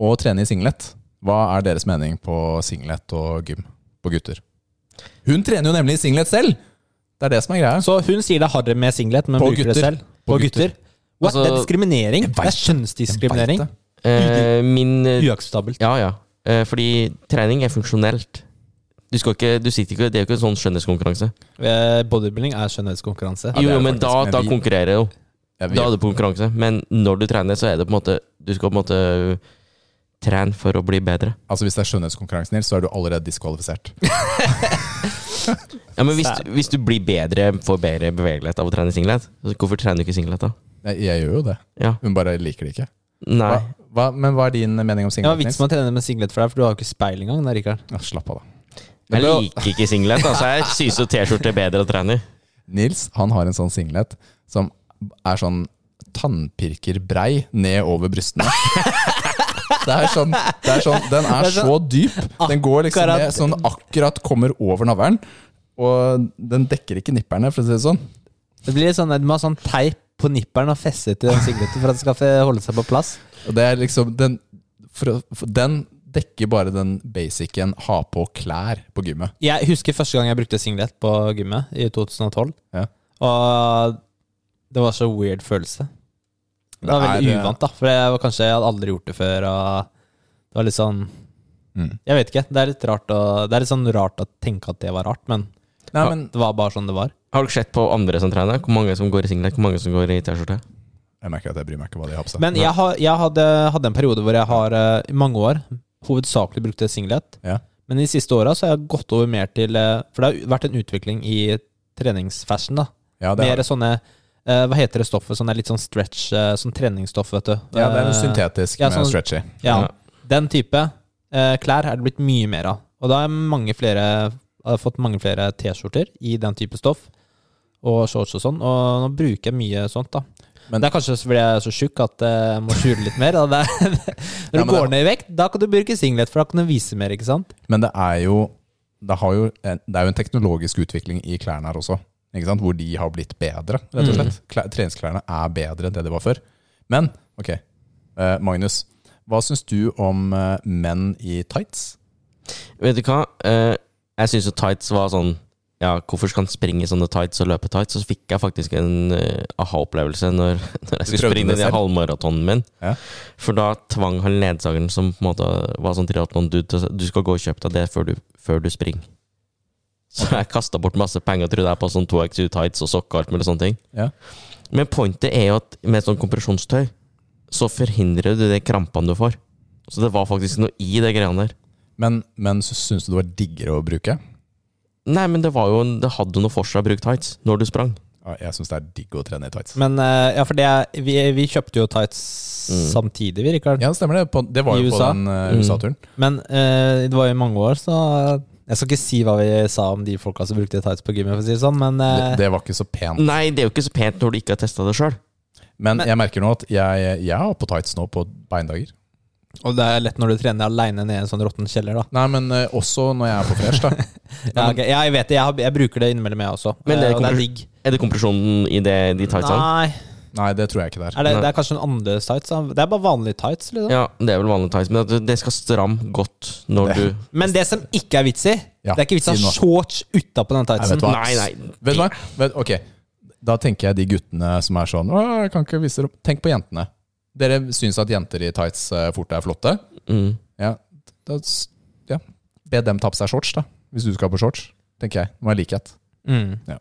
B: å trene i singlet. Hva er deres mening på singlet og gym på gutter? Hun trener jo nemlig i singlet selv! Det er det som er greia.
A: Så hun sier det er harry med singlet, men
B: På
A: bruker det
B: gutter.
A: selv. På,
B: På
A: gutter.
B: gutter.
A: What? det er
C: Altså,
A: diskriminering.
B: jeg
A: Det er
B: vet Jeg
A: kjønnsdiskriminering.
B: vet det.
C: Eh, min
A: Uakseptabelt.
C: Ja, ja. Eh, fordi trening er funksjonelt. Du skal ikke, du sitter ikke, det er jo ikke en sånn skjønnhetskonkurranse.
A: Eh, Bodybuilding er skjønnhetskonkurranse.
B: det
C: jo,
B: er
C: jo, men
B: faktisk-
C: da,
B: men
C: da
B: vi-
C: konkurrerer jo.
B: Ja, vi-
C: Da er det på konkurranse. Men når du trener, så er det på en måte Du skal på en måte trene for å bli bedre.
B: Altså Hvis det er skjønnhetskonkurransen, Nils, så er du allerede diskvalifisert.
C: Ja, Men hvis, du- hvis du blir bedre, får bedre bevegelighet av å trene singlet, så hvorfor trener du ikke singlet da?
B: Jeg, jeg gjør jo det.
C: Ja.
B: Hun bare liker det ikke. Hva,
C: Nei.
B: hva, men hva er din mening om
A: Det var
B: singlet?
A: vits med å trene med singlet for deg, for du har jo ikke speil engang. da, Rikard.
B: Nils? Ja, slapp av, da.
C: Jeg liker ikke singlet. Altså, jeg synes jo T-skjorte er bedre å trene i.
B: Nils han har en sånn singlet som er sånn tannpirkerbrei ned over brystene. Det er, sånn, det er sånn Den er
A: Det er
B: så dyp. Den går liksom ned,
A: Akkurat-
B: sånn akkurat kommer over navlen. Og den dekker ikke nipperne, for å si det sånn.
A: Det blir litt sånn, Du må ha sånn teip på nipperen og feste til den singleten for at den skal få holde seg på plass.
B: Og det er liksom Den, for, å- for, den dekker bare den basicen ha på klær på gymmet.
A: Jeg husker første gang jeg brukte singlet på gymmet, i 2012.
B: Ja.
A: Og det var så weird følelse. Det var
B: Det
A: veldig
B: er, eh,
A: uvant, da. For jeg var kanskje jeg hadde aldri gjort det før. Og det var litt sånn
B: Mm.
A: Jeg vet ikke. Det er litt rart å, det er litt sånn rart å tenke at det var rart, men
B: Nei, men
A: det var bare sånn det var.
C: Har dere sett på andre som trener? Hvor mange som går i singlet? Hvor mange som går i T-skjorte?
B: Jeg merker at jeg bryr meg ikke hva de har på seg.
A: Men jeg, har, jeg hadde, hadde en periode hvor jeg har eh, i mange år hovedsakelig brukte singlet.
B: Ja.
A: Men de siste åra har jeg gått over mer til eh, For det har vært en utvikling i treningsfashion. da
B: ja, det,
A: Mer
B: er,
A: sånne eh, Hva heter det stoffet? Sånn er litt sånn stretch, eh, sånn treningsstoff, vet du.
B: ja, det er
A: Eh,
B: noe syntetisk
A: ja,
B: med
A: sånn-
B: stretchy.
A: Ja,
C: Ja.
A: Den type eh, klær er det blitt mye mer av. Og da har jeg mange flere, har jeg fått mange flere T-skjorter i den type stoff. Og shorts og sånn. Og nå bruker jeg mye sånt, da.
B: Men-
A: det er kanskje fordi jeg er så tjukk at eh, jeg må skjule litt mer. da. [laughs] Det er,
B: Ja,
A: når
B: men
A: du går
B: det-
A: ned i vekt, da kan du bruke singlet, for da kan du vise mer, ikke sant?
B: Men det er jo det, har jo en, det er jo en teknologisk utvikling i klærne her også, ikke sant? hvor de har blitt bedre,
A: Mm.
B: rett og slett. Klær, treningsklærne er bedre enn det de var før. Men ok, eh, Magnus. Hva syns du om eh, menn i tights?
C: Vet du hva? Eh, jeg syns jo tights var sånn Ja, hvorfor skal han springe i sånne tights og løpe tights? Så fikk jeg faktisk en eh, aha-opplevelse når, [laughs] når jeg skulle
B: prøvde
C: springe
B: det
C: den
B: selv?
C: halvmaratonen min.
B: Ja.
C: For da tvang han ledsageren, som på en måte var sånn triatlon-dude, til å si, du skal gå og kjøpe deg det før du, før du springer. Så jeg kasta bort masse penger, trodde jeg, på sånn 2XU tights og sokker og alt mulig sånne ting.
B: Ja.
C: Men pointet er jo at med sånn kompresjonstøy, så forhindrer du de krampene du får. Så det var faktisk noe i de greiene der.
B: Men, men så syns du det var diggere å bruke?
C: Nei, men det, var jo, en- det hadde noe for seg å bruke tights når du sprang.
B: Ja, jeg syns det er digg å trene i tights.
A: Men eh, ja, for det er, vi, vi kjøpte jo tights
B: Mm.
A: samtidig, vi, Rikard.
B: Ja, det stemmer det. På, det var
A: I
B: jo på
A: USA?
B: den eh,
C: Mm.
B: USA-turen.
A: Men eh, det var jo i mange år, så jeg skal ikke si hva vi sa om de folka som brukte tights på gymmet, for å si det sånn, men
B: Det,
A: eh,
B: det var ikke så pent.
C: Nei, det er jo ikke så pent når du ikke har testa det sjøl.
B: Men,
A: Men-
B: jeg merker nå at jeg, jeg har på tights nå på beindager.
A: Og det er lett når du trener aleine ned i en sånn råtten kjeller, da.
B: Nei, men eh, også når jeg er på [laughs] fresh, da.
A: Ja, ok. ja, jeg vet det. Jeg, har, jeg bruker det innimellom, jeg også.
C: Men det
A: Eh, og det
C: kommer-
A: er digg.
C: Er det kompresjonen i det, de tightsene?
A: Nei,
B: Nei, det tror jeg ikke det er.
A: er det, det er kanskje en annerledes tights. da. Det er bare vanlige tights. Liksom.
C: Ja, det er vel vanlige tights, men at det skal stramme godt når
B: Det-
C: du
A: Men det som ikke er vits i, det
B: Ja,
A: er ikke vits i å
B: si
A: ha
B: noe.
A: shorts utapå den
B: Nei, vet
A: tightsen.
B: du hva?
C: Nei, nei.
B: Vet du hva? Vet, ok, da tenker jeg de guttene som er sånn Åh, jeg kan ikke vise dere opp. Tenk på jentene. Dere syns at jenter i tights eh, fort er flotte.
C: Mm.
B: Ja, da, s- ja. Be dem ta på seg shorts, da. Hvis du skal på shorts, tenker jeg. Det må være [laughs] likhet.
A: Mm.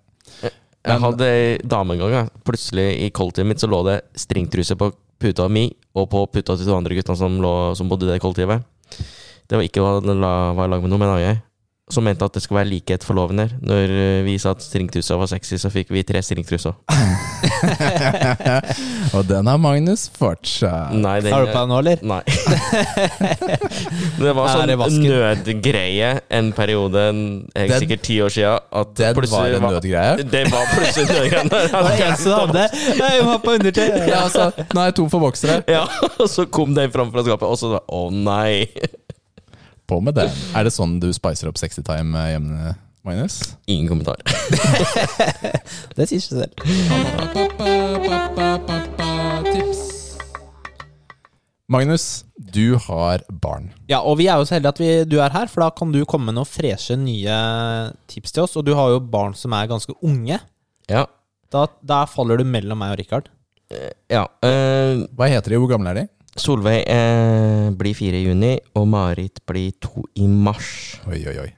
C: Jeg
B: Men-
C: hadde ei dame en gang. jeg. Plutselig i kollektivet mitt så lå det stringtruse på puta mi og på puta til to andre gutta som, lå, som bodde i det kollektivet. Det var ikke hva den la, var i lag med noe, men jeg. Som mente at det skulle være likhet for loven her. Når eh, vi sa at stringtrusa var sexy, så fikk vi tre stringtruser.
B: Og den har Magnus fortsatt.
C: Nei, den-
A: Har du på deg nå, eller? [laughs]
C: Nei. det
A: Er
C: var
A: det
C: sånn
A: vasken?
C: nødgreie en periode, en- eh,
B: Den-
C: sikkert ti år sia, at
B: Den var
C: plutselig
B: en nødgreie.
C: Det var plutselig
A: [laughs] Det var
C: en
A: det
C: nødgreie.
A: eneste du hadde.
B: [laughs]
A: Nei, Jeg må ha på undertøy.
B: Ja, altså, nå er jeg tom for boksere.
C: [laughs] Ja, og så kom den fram fra skapet, og så da, å nei. [laughs]
B: På med det. Er det sånn du spicer opp sexy time eh, hjemme, Magnus?
C: Ingen kommentar.
A: Det sier seg selv.
B: Magnus, du har barn.
A: Ja, og vi er jo så heldige at vi, du er her, for da kan du komme med noen freshe nye tips til oss. Og du har jo barn som er ganske unge.
C: Ja.
A: Da, da faller du mellom meg og Rikard.
C: ja. eh,
B: Hva heter de? Hvor gamle er de?
C: Solveig eh, blir fire i juni, og Marit blir to i mars.
B: Oi, oi, oi.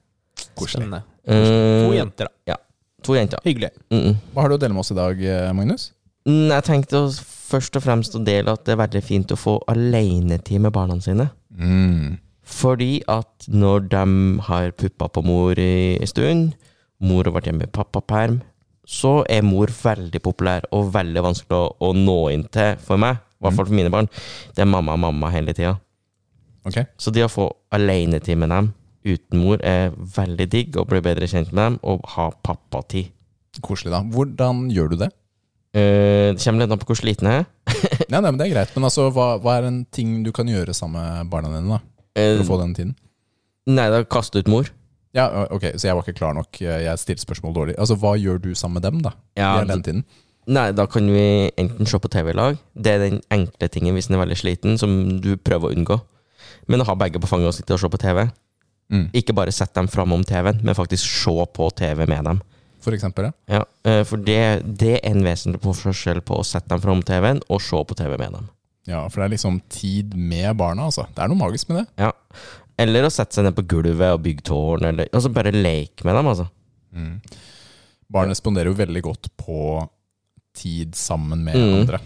B: Koselig.
A: Spennende.
C: Eh,
A: To jenter, da.
C: To jenter.
A: Hyggelig.
C: Mm -mm.
B: Hva har du å dele med oss i dag, eh, Magnus?
C: Mm, Jeg tenkte å- først og fremst å dele at det er veldig fint å få alenetid med barna sine. Fordi at når de har puppa på mor i en stund, mor har vært hjemme i pappaperm, så er mor veldig populær og veldig vanskelig å, å nå inn til for meg, i
B: Mm.
C: hvert fall for mine barn. Det er mamma, mamma hele tida.
B: Ok.
C: Så det å få alenetid med dem uten mor er veldig digg, og bli bedre kjent med dem, og ha pappatid.
B: Koselig, da. Hvordan gjør du det?
C: Eh, Det kommer litt an på hvor sliten jeg er.
B: Nei, nei, men Det er greit. Men altså, hva, hva er en ting du kan gjøre sammen med barna dine da,
C: Eh,
B: for å få den tiden?
C: Nei, da kaste ut mor.
B: Ja, ø- ok, Så jeg var ikke klar nok. Jeg stilte spørsmål dårlig. Altså, Hva gjør du sammen med dem da?
C: Ja, altså
B: i den tiden?
C: Nei, da kan vi enten se på TV i lag. Det er den enkle tingen hvis den er veldig sliten, som du prøver å unngå. Men å ha begge på fanget og sitte og se på TV.
B: Mm.
C: Ikke bare sett dem framom TV-en, men faktisk se på TV med dem.
B: For eksempel, ja.
C: Ja, eh, For det, det er en vesentlig forskjell på å sette dem framom TV-en og se på TV med dem.
B: ja. For det er liksom tid med barna, altså. Det er noe magisk med det.
C: Ja. Eller å sette seg ned på gulvet og bygge tårn, eller altså bare leke med dem, altså.
B: Barn responderer jo veldig godt på tid sammen med
C: Mm.
B: andre.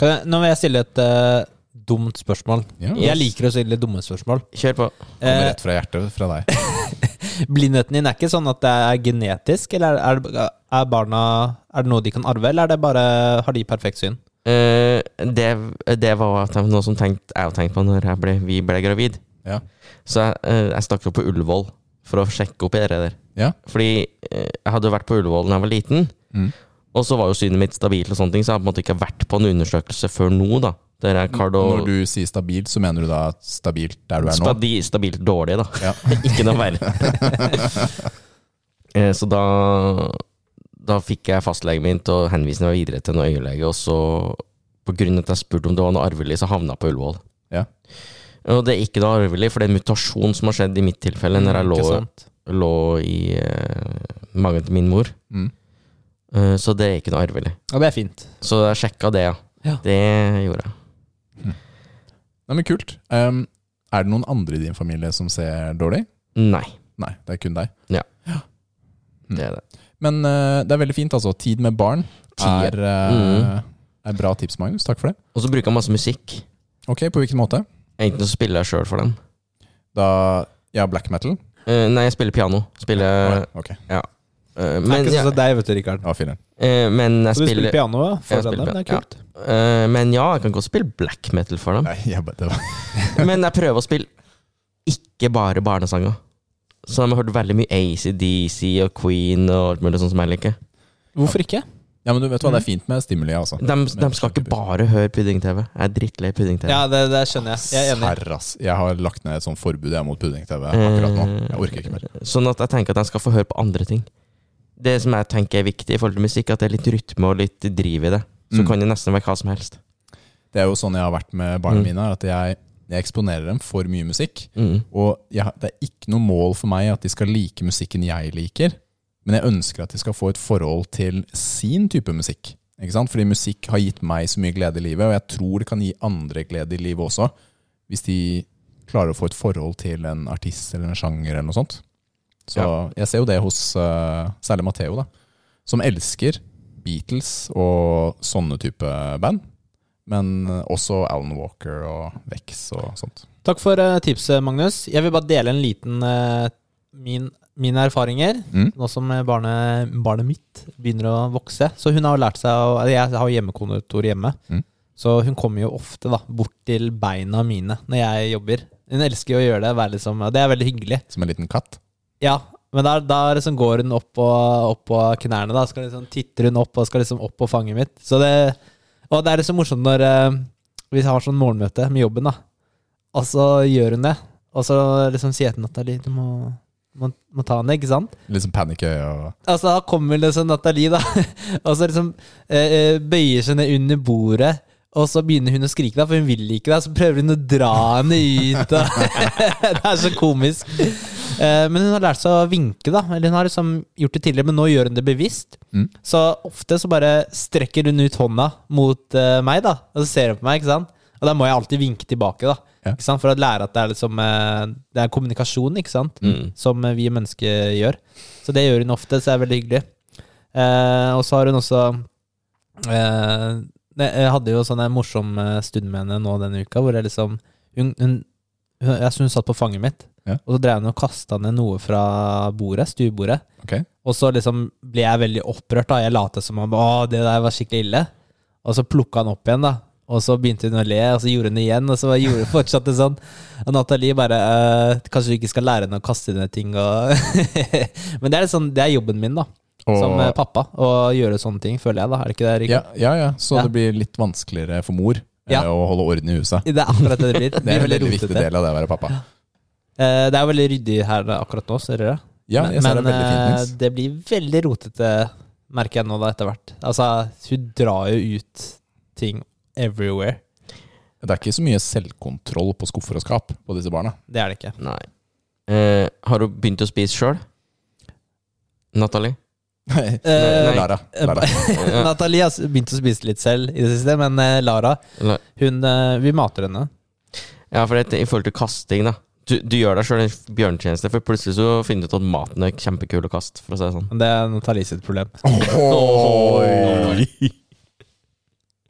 A: Kan jeg, nå vil jeg stille et eh, dumt spørsmål.
B: Ja,
C: Mm. Yes.
A: Jeg liker å stille dumme spørsmål.
C: Kjør på.
B: Kommer
A: Eh,
B: rett fra hjertet fra deg.
A: blindheten din er ikke sånn at det er genetisk, eller er, det- er barna Er det noe de kan arve, eller er det bare har de perfekt syn?
C: Eh, det, det var at det var noe som tenkte, jeg tenkte på når jeg ble, vi ble gravid.
B: Ja.
C: Så jeg, eh, jeg stakk jo på Ullevål for å sjekke opp i det der.
B: Ja.
C: Fordi eh, jeg hadde jo vært på Ullevål da jeg var liten,
B: Mm.
C: og så var jo synet mitt stabilt, og sånne ting, så jeg har på en måte ikke vært på en undersøkelse før nå. da. Der jeg kardo,
B: Når du sier stabilt, så mener du da stabilt der du er nå?
C: Stabi, stabilt dårlig, da.
B: Ja.
C: [laughs] ikke noe verre.
B: [laughs]
C: Eh, så da, da fikk jeg fastlegen min til å henvise meg videre til en øyelege, og så på grunn av at jeg spurte om det var noe arvelig, så havna jeg på Ullevål.
B: Ja.
C: Og det er ikke noe arvelig, for det er en mutasjon som har skjedd i mitt
B: Mm,
C: tilfelle når jeg lå,
A: Ikke sant?
C: lå i eh, magen til min mor.
B: Mm.
C: Eh, så det er ikke noe arvelig.
A: Ja, det er fint.
C: Så jeg sjekka det, ja.
A: Ja.
C: Det gjorde jeg.
B: Nei, men kult. Um, er det noen andre i din familie som ser dårlig?
C: Nei,
B: Nei, det er kun deg. Mm.
C: det er det.
B: Men eh, det er veldig fint, altså. Tid med barn
C: Tid.
B: er, eh, er bra tips, Magnus. Takk for det.
C: Og så bruker jeg masse musikk.
B: Ok, På hvilken måte?
C: Enten så spiller jeg sjøl for dem.
B: Da Ja, black metal?
C: Eh, nei, jeg spiller piano. Spiller,
B: ok,
C: eh,
A: Det er
C: men,
A: ikke
C: ja,
A: sånn som deg, vet du, Rikard.
B: ja, fine.
C: eh, men jeg
A: Så du
C: spiller,
A: spiller piano ja, for
C: Jeg spiller
A: dem? Det er
C: piano,
A: kult.
C: eh, Men ja, jeg kan godt spille black metal for dem.
B: Nei, jeg bare, det var.
C: Men jeg prøver å spille ikke bare barnesanger. Så de har hørt veldig mye ACDC og Queen og alt mulig sånt som jeg liker.
A: Hvorfor ikke?
B: Ja, men du vet hva, det er fint med stimuli, altså.
C: De, de skal ikke bare høre pudding-TV. Jeg er drittlei pudding-TV.
A: Ja, det, det skjønner jeg. Jeg er enig.
B: Herre, ass. Jeg har lagt ned et sånt forbud jeg mot pudding-TV akkurat nå. Jeg orker ikke mer.
C: Sånn at jeg tenker at de skal få høre på andre ting. Det som jeg tenker er viktig i forhold til musikk, at det er litt rytme og litt driv i det. Så
B: Mm.
C: kan det nesten være hva som helst.
B: Det er jo sånn jeg har vært med barna
C: Mm.
B: mine, er at jeg, jeg eksponerer dem for mye musikk.
C: Mm.
B: Og jeg, har- det er ikke noe mål for meg at de skal like musikken jeg liker, men jeg ønsker at de skal få et forhold til sin type musikk. Ikke sant? Fordi musikk har gitt meg så mye glede i livet, og jeg tror det kan gi andre glede i livet også, hvis de klarer å få et forhold til en artist eller en sjanger eller noe sånt. Så jeg ser jo det hos eh, særlig Matheo, da, som elsker Beatles og sånne type band. Men også Alan Walker og Vex og sånt.
A: Takk for eh, tipset, Magnus. Jeg vil bare dele en liten eh, min, mine erfaringer.
B: Mm.
A: Nå som eh, barnet, barnet mitt begynner å vokse. Så hun har jo lært seg å eller Jeg har jo hjemmekontor hjemme.
B: Mm.
A: Så hun kommer jo ofte da, bort til beina mine når jeg jobber. Hun elsker jo å gjøre det. Være liksom, og det er veldig hyggelig.
B: Som en liten katt.
A: Ja, men da, da liksom går hun opp på, opp på knærne. Da skal liksom, titter hun opp og skal liksom opp på fanget mitt. Så det, og det er liksom morsomt når eh, vi har sånn morgenmøte med jobben, da. Og så gjør hun det. Og så liksom sier jeg til Nathalie du må, må, må ta henne, ikke sant?
B: Litt sånn panikk i øyet og
A: Altså, da kommer liksom Nathalie, da. [laughs] Og så liksom eh, eh, bøyer seg ned under bordet. Og så begynner hun å skrike, da, for hun vil ikke det. Så prøver hun å dra henne ut. Og [laughs] det er så komisk. Eh, men hun har lært seg å vinke, da. Eller hun har liksom gjort det tidligere, men nå gjør hun det bevisst.
B: Mm.
A: Så ofte så bare strekker hun ut hånda mot eh, meg, da. Og så ser hun på meg, ikke sant. Og da må jeg alltid vinke tilbake, da.
B: Ja.
A: Ikke sant? For å lære at det er, liksom, eh, det er kommunikasjon, ikke sant
C: Mm.
A: som eh, vi mennesker gjør. Så det gjør hun ofte, så det er veldig hyggelig. Eh, og så har hun også eh, ne, Jeg hadde jo sånn en morsom eh, stund med henne nå denne uka, hvor jeg liksom Hun, hun, hun, jeg, synes hun satt på fanget mitt,
B: Ja.
A: og så drev hun og kasta ned noe fra bordet, stuebordet.
B: Ok.
A: Og så liksom ble jeg veldig opprørt. da Jeg lot som om å, det der var skikkelig ille. Og så plukka han opp igjen, da. Og så begynte hun å le, og så gjorde hun det igjen. Og så gjorde hun [laughs] fortsatte sånn. Og Nathalie bare «Øh, Kanskje du ikke skal lære henne å kaste ned ting og [laughs] Men det er, litt sånn, det er jobben min, da. Som eh, pappa. Å gjøre sånne ting, føler jeg, da. Er det ikke det, Rikard?
B: ja, ja, ja, så
A: Ja.
B: det blir litt vanskeligere for mor eh,
A: Ja.
B: å holde orden i huset.
A: Det er akkurat det det blir.
B: [laughs] Det er en veldig viktig
A: rotete.
B: del av det å være pappa.
A: Eh, Det er jo veldig ryddig her da, akkurat nå, ser dere.
B: Ja, jeg ser
A: men
B: det veldig
A: eh,
B: fint, Nils.
A: det blir veldig rotete, merker jeg nå da, etter hvert. Altså, hun drar jo ut ting everywhere.
B: Det er ikke så mye selvkontroll på skuffer og skap på disse barna. [laughs]
A: Det er det ikke.
C: Nei. Eh, har hun begynt å spise sjøl? Natalie?
A: Eh,
B: Lara. Lara.
A: [laughs] Natalie har s- begynt å spise litt selv i det siste, men eh, Lara
C: La-
A: hun, eh, Vi mater henne.
C: Ja, for det, i forhold til kasting, da. Du, du gjør deg sjøl en bjørnetjeneste, for plutselig så finner du ut at maten er kjempekul å kaste, for å si det sånn.
A: Men det er Natalie sitt problem.
B: Oi.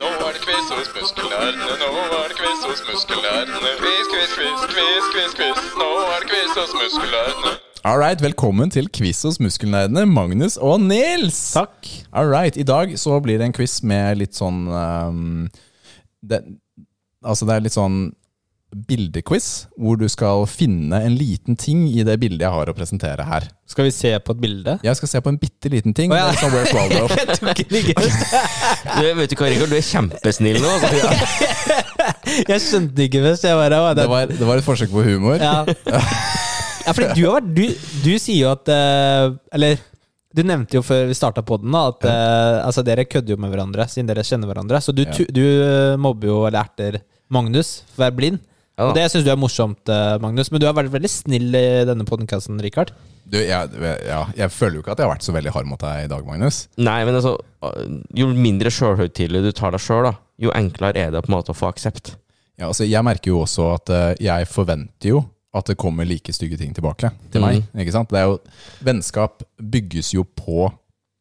D: Nå er det quiz hos muskelnerdene, nå er det quiz hos muskelnerdene. Quiz, quiz, quiz, quiz, quiz, quiz. Nå er det quiz hos muskelnerdene.
B: All right, velkommen til quiz hos muskelnerdene, Magnus og Nils.
A: Takk.
B: All right, i dag så blir det en quiz med litt sånn ehm, det, Altså det er litt sånn bildequiz, hvor du skal finne en liten ting i det bildet jeg har å presentere her.
A: Skal vi se på et bilde?
B: Jeg skal se på en bitte liten ting.
A: Å, ja.
B: det er sånn Where's Waldo.
A: [laughs] Jeg tok ikke det først.
C: Du, vet du hva, Rikard, du er kjempesnill nå. [laughs] Altså.
A: Jeg skjønte det ikke først. Jeg bare, «Å, det,
B: Det var, det var et forsøk på humor.
A: ja. ja, fordi du har vært Du, du sier jo at eh, Eller du nevnte jo før vi starta poden at eh, altså, dere kødder jo med hverandre siden dere kjenner hverandre. Så du,
B: Ja.
A: tu- du eh, mobber jo eller erter Magnus for å være blind.
C: Ja da.
A: og det syns du er morsomt, eh, Magnus. Men du har vært veldig snill i denne podkasten, Richard.
B: Du, jeg, ja, jeg føler jo ikke at jeg har vært så veldig hard mot deg i dag, Magnus.
C: Nei, men altså, jo mindre sjølhøytidelig du tar deg sjøl, da, jo enklere er det på en måte å få aksept.
B: Ja, altså, jeg merker jo også at eh, jeg forventer jo at det kommer like stygge ting tilbake til meg.
A: Mm.
B: Ikke sant? Det er jo, vennskap bygges jo på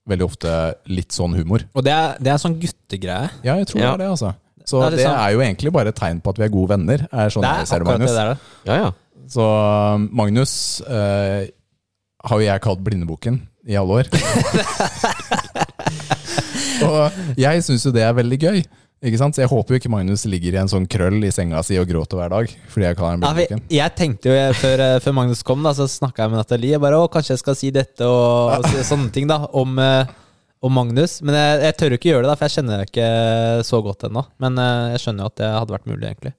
B: veldig ofte litt sånn humor.
A: Og det er, det er sånn guttegreie.
B: Ja, jeg tror
C: Ja.
B: det er det, altså. Så
A: Det er
B: det er,
A: litt sant.
B: jo egentlig bare et tegn på at vi er gode venner. Er sånn
A: Det
B: jeg
A: er
B: ser det,
A: akkurat det
B: Magnus.
A: der. da.
C: Ja, ja.
B: Så um, Magnus eh, har jo jeg kalt Blindeboken i alle år. og jeg syns jo det er veldig gøy. Ikke sant? Så jeg håper jo ikke Magnus ligger i en sånn krøll i senga si og gråter hver dag. Fordi jeg kaller han
A: Ja, for
B: Blindeboken.
A: jeg tenkte jo jeg, før, eh, før Magnus kom, da, så snakka jeg med Nathalie. Jeg bare, å, kanskje jeg skal si dette og, og så- sånne ting da, om, eh, og Magnus. Men jeg, jeg tør ikke gjøre det, da, for jeg kjenner deg ikke så godt ennå. Men eh, jeg skjønner jo at det hadde vært mulig, egentlig.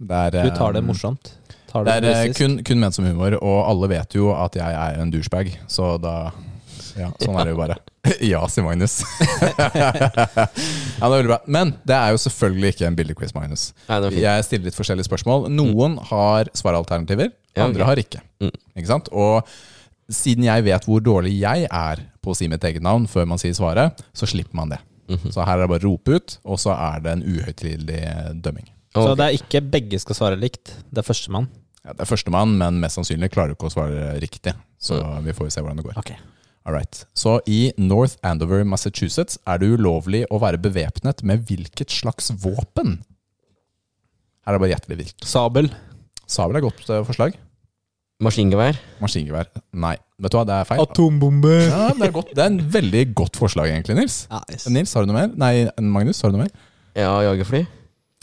B: Det er,
A: Du tar det
B: eh,
A: morsomt. Tar det
B: Det er eh,
A: humoristisk.
B: kun, kun ment som humor, og alle vet jo at jeg er en douchebag, så da ja, Sånn er det jo bare. [laughs] Ja, sier Magnus. [laughs] ja, det er veldig bra. Men det er jo selvfølgelig ikke en bildequiz, Magnus.
C: Nei, det var fint. Mm.
B: Jeg stiller litt forskjellige spørsmål. Noen har svaralternativer,
C: Ja, ok.
B: andre har ikke.
C: Mm.
B: Ikke sant? Og siden jeg vet hvor dårlig jeg er på å si mitt eget navn før man sier svaret, så slipper man det.
C: Mhm.
B: Så her er det bare å rope ut, og så er det en uhøytidelig dømming.
A: Så
C: Ok.
A: det er ikke begge skal svare likt. Det er førstemann.
B: Ja, det er førstemann, men mest sannsynlig klarer du ikke å svare riktig. Så
C: Mm.
B: vi får jo se hvordan det går.
A: Ok.
B: All right. Så i North Andover, Massachusetts er det ulovlig å være bevæpnet med hvilket slags våpen? Her er det bare gjettelig vilt.
A: Sabel.
B: Sabel er godt eh, forslag.
C: Maskingevær?
B: Maskingevær. Nei. Vet du hva, det er feil.
A: Atombombe.
B: Ja, det, er godt. det er en veldig godt forslag egentlig, Nils. Nils, har du noe mer? Nei, Magnus, har du noe mer?
C: Ja, jagerfly?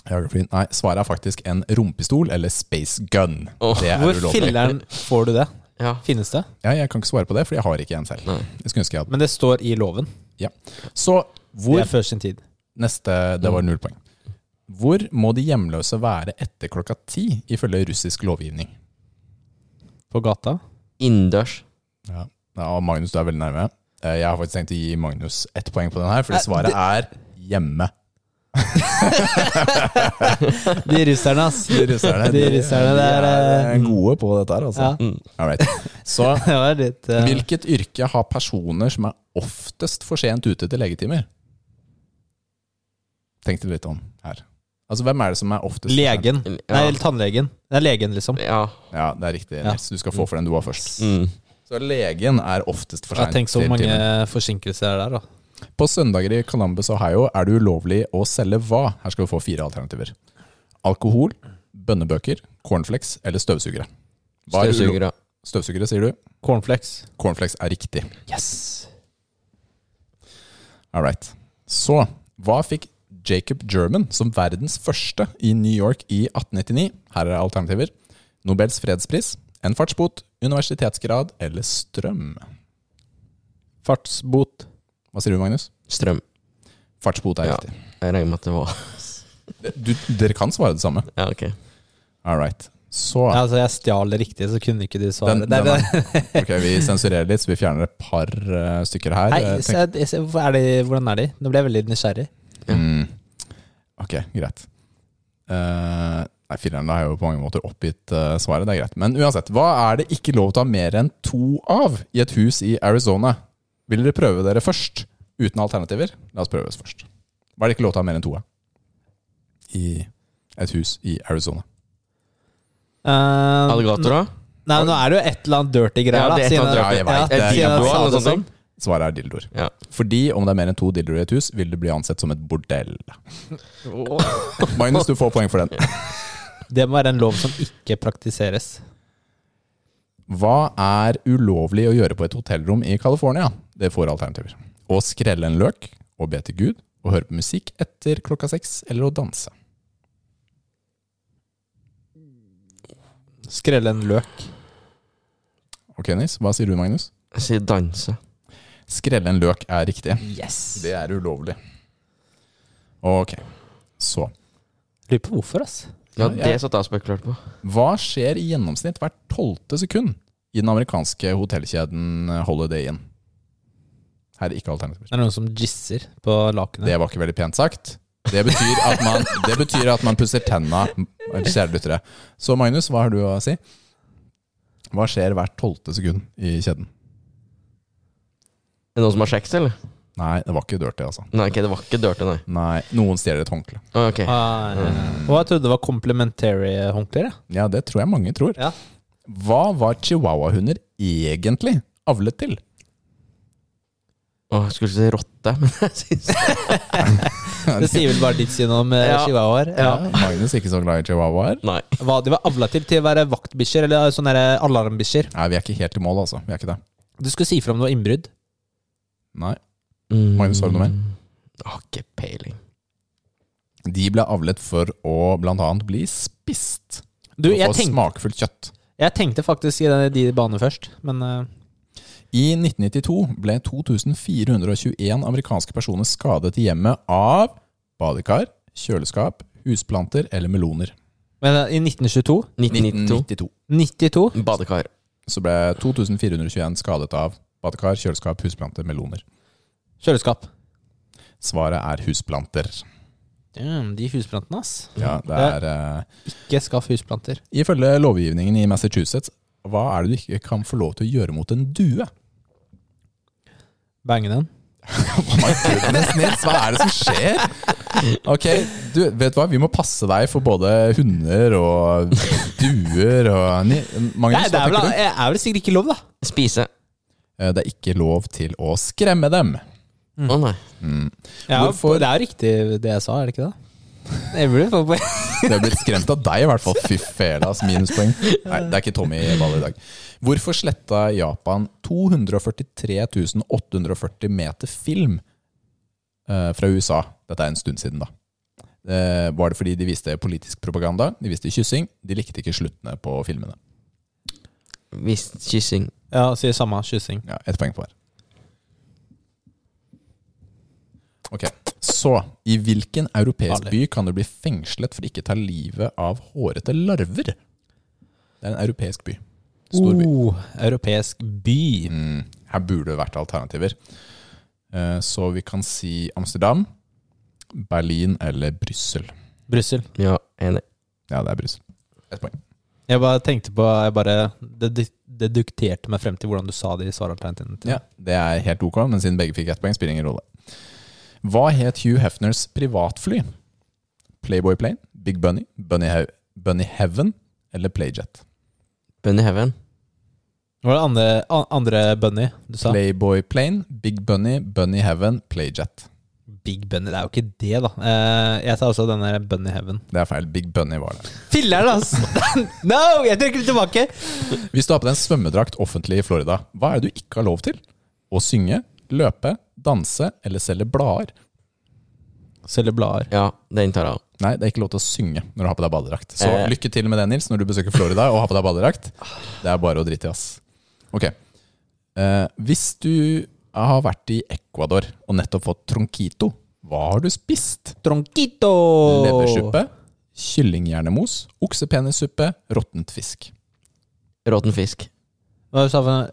B: Jagerfly. Nei, svaret er faktisk en rumpistol eller space gun.
C: Åh,
B: det er
A: Hvor
B: ulovlig.
A: filleren får du det?
C: Ja.
A: Finnes det?
B: Ja, jeg kan ikke svare på det, for jeg har ikke en selv.
C: Nei.
B: Jeg skulle ønske jeg hadde.
A: Men det står i loven.
B: Så
A: Det
B: hvor
A: er før sin tid.
B: Neste, det var null poeng. Hvor må de hjemløse være etter klokka ti, ifølge russisk lovgivning?
A: På gata.
C: Innendørs?
B: Ja. Magnus, du er veldig nærme. Eh, Jeg har faktisk tenkt å gi Magnus ett poeng på den her, fordi
A: Eh,
B: svaret er hjemme.
A: De russerne,
B: [laughs]
A: ass.
B: De russerne,
A: De russerne, det er, eh,
B: gode på dette her, altså.
A: Ja,
C: Mm.
B: All right. Så [laughs]
A: det var litt eh,
B: hvilket yrke har personer som er oftest for sent ute til legetimer? Tenk deg litt om her. Altså, hvem er det som er oftest for sent?
A: Legen.
C: Ja.
A: Nei, tannlegen. Det er legen, liksom.
C: Ja.
B: Ja, det er riktig,
A: Ja.
B: Nils. Du skal få for den du var først.
C: Mm.
B: Så legen er oftest for
A: Ja,
B: sent
A: tenk så
B: til
A: mange
B: timen.
A: forsinkelser det er der, da.
B: På søndager i Columbus, Ohio er det ulovlig å selge hva? Her skal vi få fire alternativer. Alkohol, bønnebøker, cornflakes eller støvsugere. Hva er ulo-
C: Støvsugere.
B: Støvsugere, sier du.
A: Cornflakes.
B: Cornflakes er riktig.
A: Yes!
B: All right. Så hva fikk Jacob German som verdens første i New York i 1899? Her er alternativer. Nobels fredspris, en fartsbot, universitetsgrad eller strøm.
A: Fartsbot.
B: Hva sier du, Magnus?
C: Strøm.
B: Fartsbot er
C: Ja.
B: riktig.
C: Jeg regner med at det var
B: Du, dere kan svare det samme.
C: Ja, ok.
B: All right. Så
A: Ja, altså, jeg stjal det riktig, så kunne ikke du svare.
B: Den-
A: det er,
B: den Ok, vi sensurerer litt, så vi fjerner et par eh, stykker her.
A: Nei,
B: Eh,
A: se,
B: tenk-
A: se, hvorfor er de, hvordan er de? Nå ble jeg veldig nysgjerrig.
B: Mm. Ok, greit. Eh, nei, fireren har jo på mange måter oppgitt eh, svaret, det er greit. Men uansett, hva er det ikke lov til å ha mer enn to av i et hus i Arizona? Vil dere prøve dere først, uten alternativer? La oss prøve oss først. Hva er det ikke lov til å ha mer enn to av i et hus i Arizona?
A: Eh,
C: Alligatorer?
A: Nei, nå er det jo et eller annet dirty greier,
C: Ja,
A: da.
C: det er et eller annet
B: dirty. Ja, jeg vet det.
A: siden han
C: Dildoer
A: sa
C: eller
A: det
C: noe
A: sånn.
B: Svaret er dildoer.
C: Ja.
B: Fordi om det er mer enn to dildoer i et hus, vil det bli ansett som et bordell. Magnus, du får poeng for den.
A: Det må være en lov som ikke praktiseres.
B: Hva er ulovlig å gjøre på et hotellrom i California? Det får alternativer. Å skrelle en løk, å be til Gud, å høre på musikk etter klokka seks, eller å danse.
A: Skrelle en løk.
B: Ok, Nis, hva sier du, Magnus?
C: Jeg sier danse.
B: Skrelle en løk er riktig.
A: Yes!
B: Det er ulovlig. Ok, så
A: Lurer på hvorfor, ass.
C: Ja,
B: Ja,
C: det satt jeg og spekulerte på.
B: Hva skjer i gjennomsnitt hvert tolvte sekund i den amerikanske hotellkjeden Holiday Inn? Her er ikke alternativer.
A: Det er noen som jizzer på lakenet.
B: Det var ikke veldig pent sagt. Det betyr at man, det betyr at man pusser tenna, kjære lyttere. Så Magnus, hva har du å si? Hva skjer hvert tolvte sekund i kjeden?
C: Er det noen som har sex, eller?
B: Nei, det var ikke dirty, altså.
C: Nei, ok, det var ikke dirty, nei.
B: Nei, noen stjeler et håndkle.
C: Å, Ok.
A: Ah, ja, ja. Og jeg trodde det var complementary håndklær. jeg.
B: Ja, det tror jeg mange tror.
A: Ja.
B: Hva var chihuahuahunder egentlig avlet til?
C: Å, jeg skulle si rotte, men [laughs] jeg syns
A: Det sier vel bare ditt syn om eh,
C: Ja.
A: chihuahuaer.
C: Ja.
B: Magnus ikke så glad i chihuahuaer.
C: Nei.
A: Hva de var avla til til å være vaktbikkjer eller sånne der alarmbikkjer.
B: Nei, vi er ikke helt i mål, altså. Vi er ikke det.
A: Du skulle si fra om det var innbrudd.
B: Nei.
C: Mm.
B: Magnus, har du noe mer?
C: Har ikke peiling.
B: De ble avlet for å blant annet bli spist.
A: Du,
B: og
A: jeg
B: få
A: tenkte,
B: smakfullt kjøtt.
A: jeg tenkte faktisk i den- de banene først, men eh,
B: I 1992 ble 2421 amerikanske personer skadet i hjemmet av badekar, kjøleskap, husplanter eller meloner.
A: Men eh, i 1922
C: 1992.
B: 1992.
A: 92
C: Badekar.
B: Så ble 2421 skadet av badekar, kjøleskap, husplanter, meloner.
A: Kjøleskap.
B: Svaret er husplanter.
A: Damn, de husplantene, ass.
B: Ja, det er... eh,
A: Ikke skaff husplanter.
B: Ifølge lovgivningen i Massachusetts, hva er det du ikke kan få lov til å gjøre mot en due?
A: Bange den.
B: Oh my goodness, Nils, hva er det som skjer? Ok, du, vet du hva? Vi må passe deg for både hunder og duer og Ni- Magnus,
A: Nei, det
B: hva
A: er vel,
B: tenker du?
A: eh, er vel sikkert ikke lov, da.
C: Spise.
B: Eh, Det er ikke lov til å skremme dem.
C: Å nei.
A: Ja,
B: Hvorfor?
A: Det er jo riktig det jeg sa, er det ikke det? Jeg burde få på
B: [laughs] Det har blitt skremt av deg, i hvert fall. Fy fela, ass, minuspoeng. Nei, det er ikke Tommy Wahl i dag. Hvorfor sletta Japan 243 840 meter film eh, fra USA? Dette er en stund siden, da. Eh, var det fordi de viste politisk propaganda? De viste kyssing? De likte ikke sluttene på filmene.
C: Visst kyssing.
A: Ja, sier samme kyssing.
B: Ja, Ett poeng på hver. Ok, Så i hvilken europeisk
A: Farlig.
B: by kan du bli fengslet for ikke ta livet av hårete larver? Det er en europeisk by. Stor by.
A: Oh, europeisk by.
B: Mm, her burde det vært alternativer. Eh, Så vi kan si Amsterdam, Berlin eller Brussel.
A: Brussel.
C: Ja, enig.
B: Ja, det er Brussel. Ett poeng.
A: Jeg bare tenkte på jeg bare, Det dik- det dukterte meg frem til hvordan du sa de svaralternativene. til.
B: Ja, eh, det er helt ok, men siden begge fikk ett poeng, spiller ingen rolle. Hva het Hugh Hefners privatfly? Playboy Plane, Big Bunny, Bunny, He Bunny Heaven eller Playjet?
C: Bunny heaven.
A: Hva var det andre, an- andre bunny du sa?
B: Playboy Plane, Big Bunny, Bunny Heaven, Playjet.
A: Big bunny. Det er jo ikke det, da. Eh, jeg tar også denne bunny heaven.
B: Det er feil. Big Bunny var det.
A: Filler'n, altså! [laughs] no! Jeg trekker det tilbake.
B: Hvis du har på deg en svømmedrakt offentlig i Florida, hva er det du ikke har lov til? Å synge, løpe, danse eller selge blader?
A: Selger blader.
C: Ja, den tar jeg av.
B: Nei, det er ikke lov til å synge når du har på deg badedrakt. Så
C: Eh.
B: lykke til med det, Nils, når du besøker Florida og har på deg badedrakt. Det er bare å drite i, ass. Ok. Eh, hvis du har vært i Ecuador og nettopp fått tronquito, hva har du spist?
A: Tronquito!
B: Leversuppe, kyllinghjernemos, oksepenissuppe, råttent fisk.
C: Råten fisk.
A: Hva du sa for noe?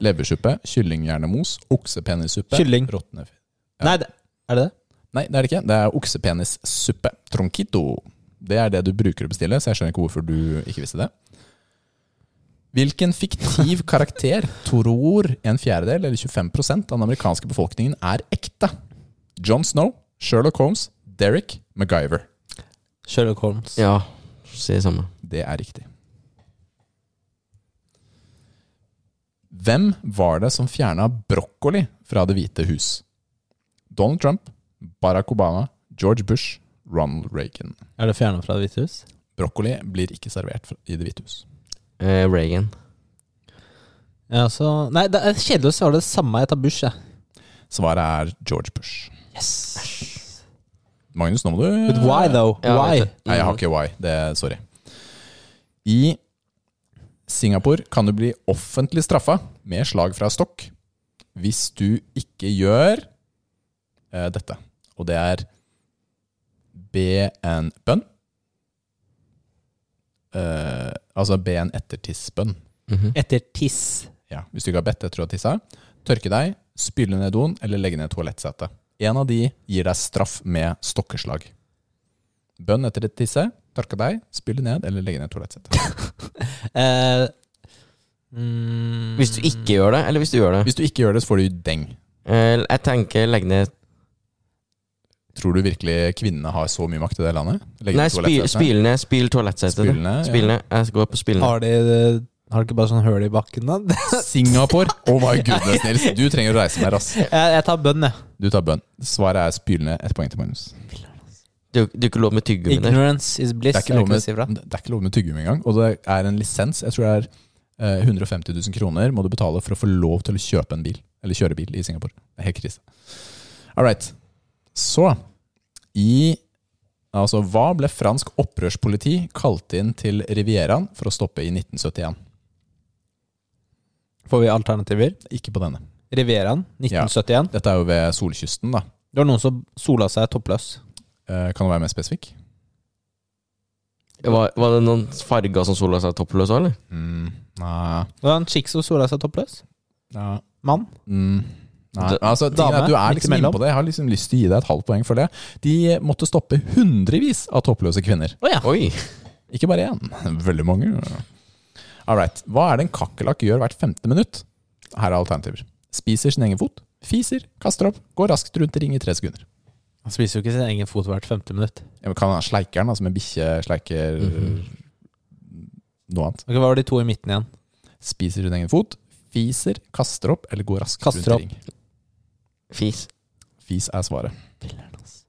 B: Leversuppe, kyllinghjernemos, oksepenissuppe
A: Kylling.
B: råtne fi-
A: Nei, det, er det det?
B: Nei, det er det ikke. Det er oksepenissuppe. Tronquito. Det er det du bruker å bestille, så jeg skjønner ikke hvorfor du ikke visste det. Hvilken fiktiv karakter tror en fjerdedel, eller 25 av den amerikanske befolkningen, er ekte? John Snow, Sherlock Holmes, Derek MacGyver.
A: Sherlock Holmes.
C: Ja, si det samme.
B: Det er riktig. Hvem var det som fjerna brokkoli fra Det hvite hus? Donald Trump, Barack Obama, George Bush, Ronald Reagan.
A: Er det fjerna fra Det hvite hus?
B: Brokkoli blir ikke servert fra- i Det hvite hus.
C: Eh, Reagan.
A: Ja, så, nei, det er kjedelig å svare det samme. Jeg tar Bush, jeg.
B: Svaret er George Bush.
A: Yes.
B: Magnus, nå må du
A: But why, though?
C: Ja,
A: why?
C: vet du.
B: Nei, jeg har ikke why. Det, sorry. I Singapore kan du bli offentlig straffa med slag fra stokk hvis du ikke gjør eh, dette. Og det er be en bønn. Eh, altså be en ettertissbønn.
C: Mhm.
A: Etter tiss.
B: Ja, hvis du ikke har bedt etter å ha tissa. Tørke deg, spyle ned doen eller legge ned toalettsetet. En av de gir deg straff med stokkeslag. Bønn etter å tisse, tørke deg, spyle ned eller legge ned toalettsetet.
A: Eh, mm,
C: Hvis du ikke gjør det, eller hvis du gjør det?
B: Hvis du ikke gjør det, så får du deng.
C: Eh, jeg tenker legg ned
B: Tror du virkelig kvinnene har så mye makt i det landet? Legge
C: Nei,
B: ned
C: spil,
B: toalettsetene?
C: spil ned. Spil toalettsetet.
B: Spyle ned, ja.
C: Spil ned. Jeg går på spil ned.
A: Har de Har de ikke bare sånn høl i bakken, da? [laughs]
B: Singapore! Oh my goodness, Nils. Du trenger å reise mer, ass.
A: Jeg, jeg tar bønn, jeg.
B: Du tar bønn. Svaret er spyle ned. Ett poeng til Magnus.
C: Det er jo- det er jo ikke lov med tyggegummi der.
A: Ignorance is bliss.
B: Det er ikke lov
A: det de sier fra?
B: med, det er ikke lov med tyggegummi engang. Og det er en lisens. Jeg tror det er eh, 150 000 kroner må du betale for å få lov til å kjøpe en bil. Eller kjøre bil i Singapore. Det er helt krise. All right. Så i Altså, hva ble fransk opprørspoliti kalt inn til Rivieraen for å stoppe i 1971?
A: Får vi alternativer?
B: Ikke på denne.
A: Riveraen, 1971.
B: Dette er jo ved solkysten, da.
A: Det var noen som sola seg toppløs.
B: Eh, Kan du være mer spesifikk?
C: Var, var det noen farger som sola seg toppløs av, eller?
B: Mm, nei.
A: Det var en chick som sola seg toppløs.
B: Ja.
A: Mann.
B: Mm. Nei,
C: Da-
B: altså, ting er
A: Dame,
B: at du er
A: midt
B: liksom inne
A: imellom.
B: på det. Jeg har liksom lyst til å gi deg et halvt poeng for det. De måtte stoppe hundrevis av toppløse kvinner.
A: Å ja.
C: Oi!
B: Ikke bare én, [laughs] veldig mange. All right. Hva er det en kakerlakk gjør hvert 15. minutt? Her er alternativer. Spiser sin egen fot, fiser, kaster opp, går raskt rundt i ring i tre sekunder.
A: Han spiser jo ikke sin egen fot hvert femte minutt.
B: Ja, men Kan han sleike den, altså med bikkje sleiker
A: Mhm.
B: noe annet?
A: Ok, Hva var de to i midten igjen?
B: Spiser sin egen fot, fiser, kaster opp eller går raskt
A: Kaster
B: rundt i ring.
C: Fis.
B: Fis er svaret.
A: altså.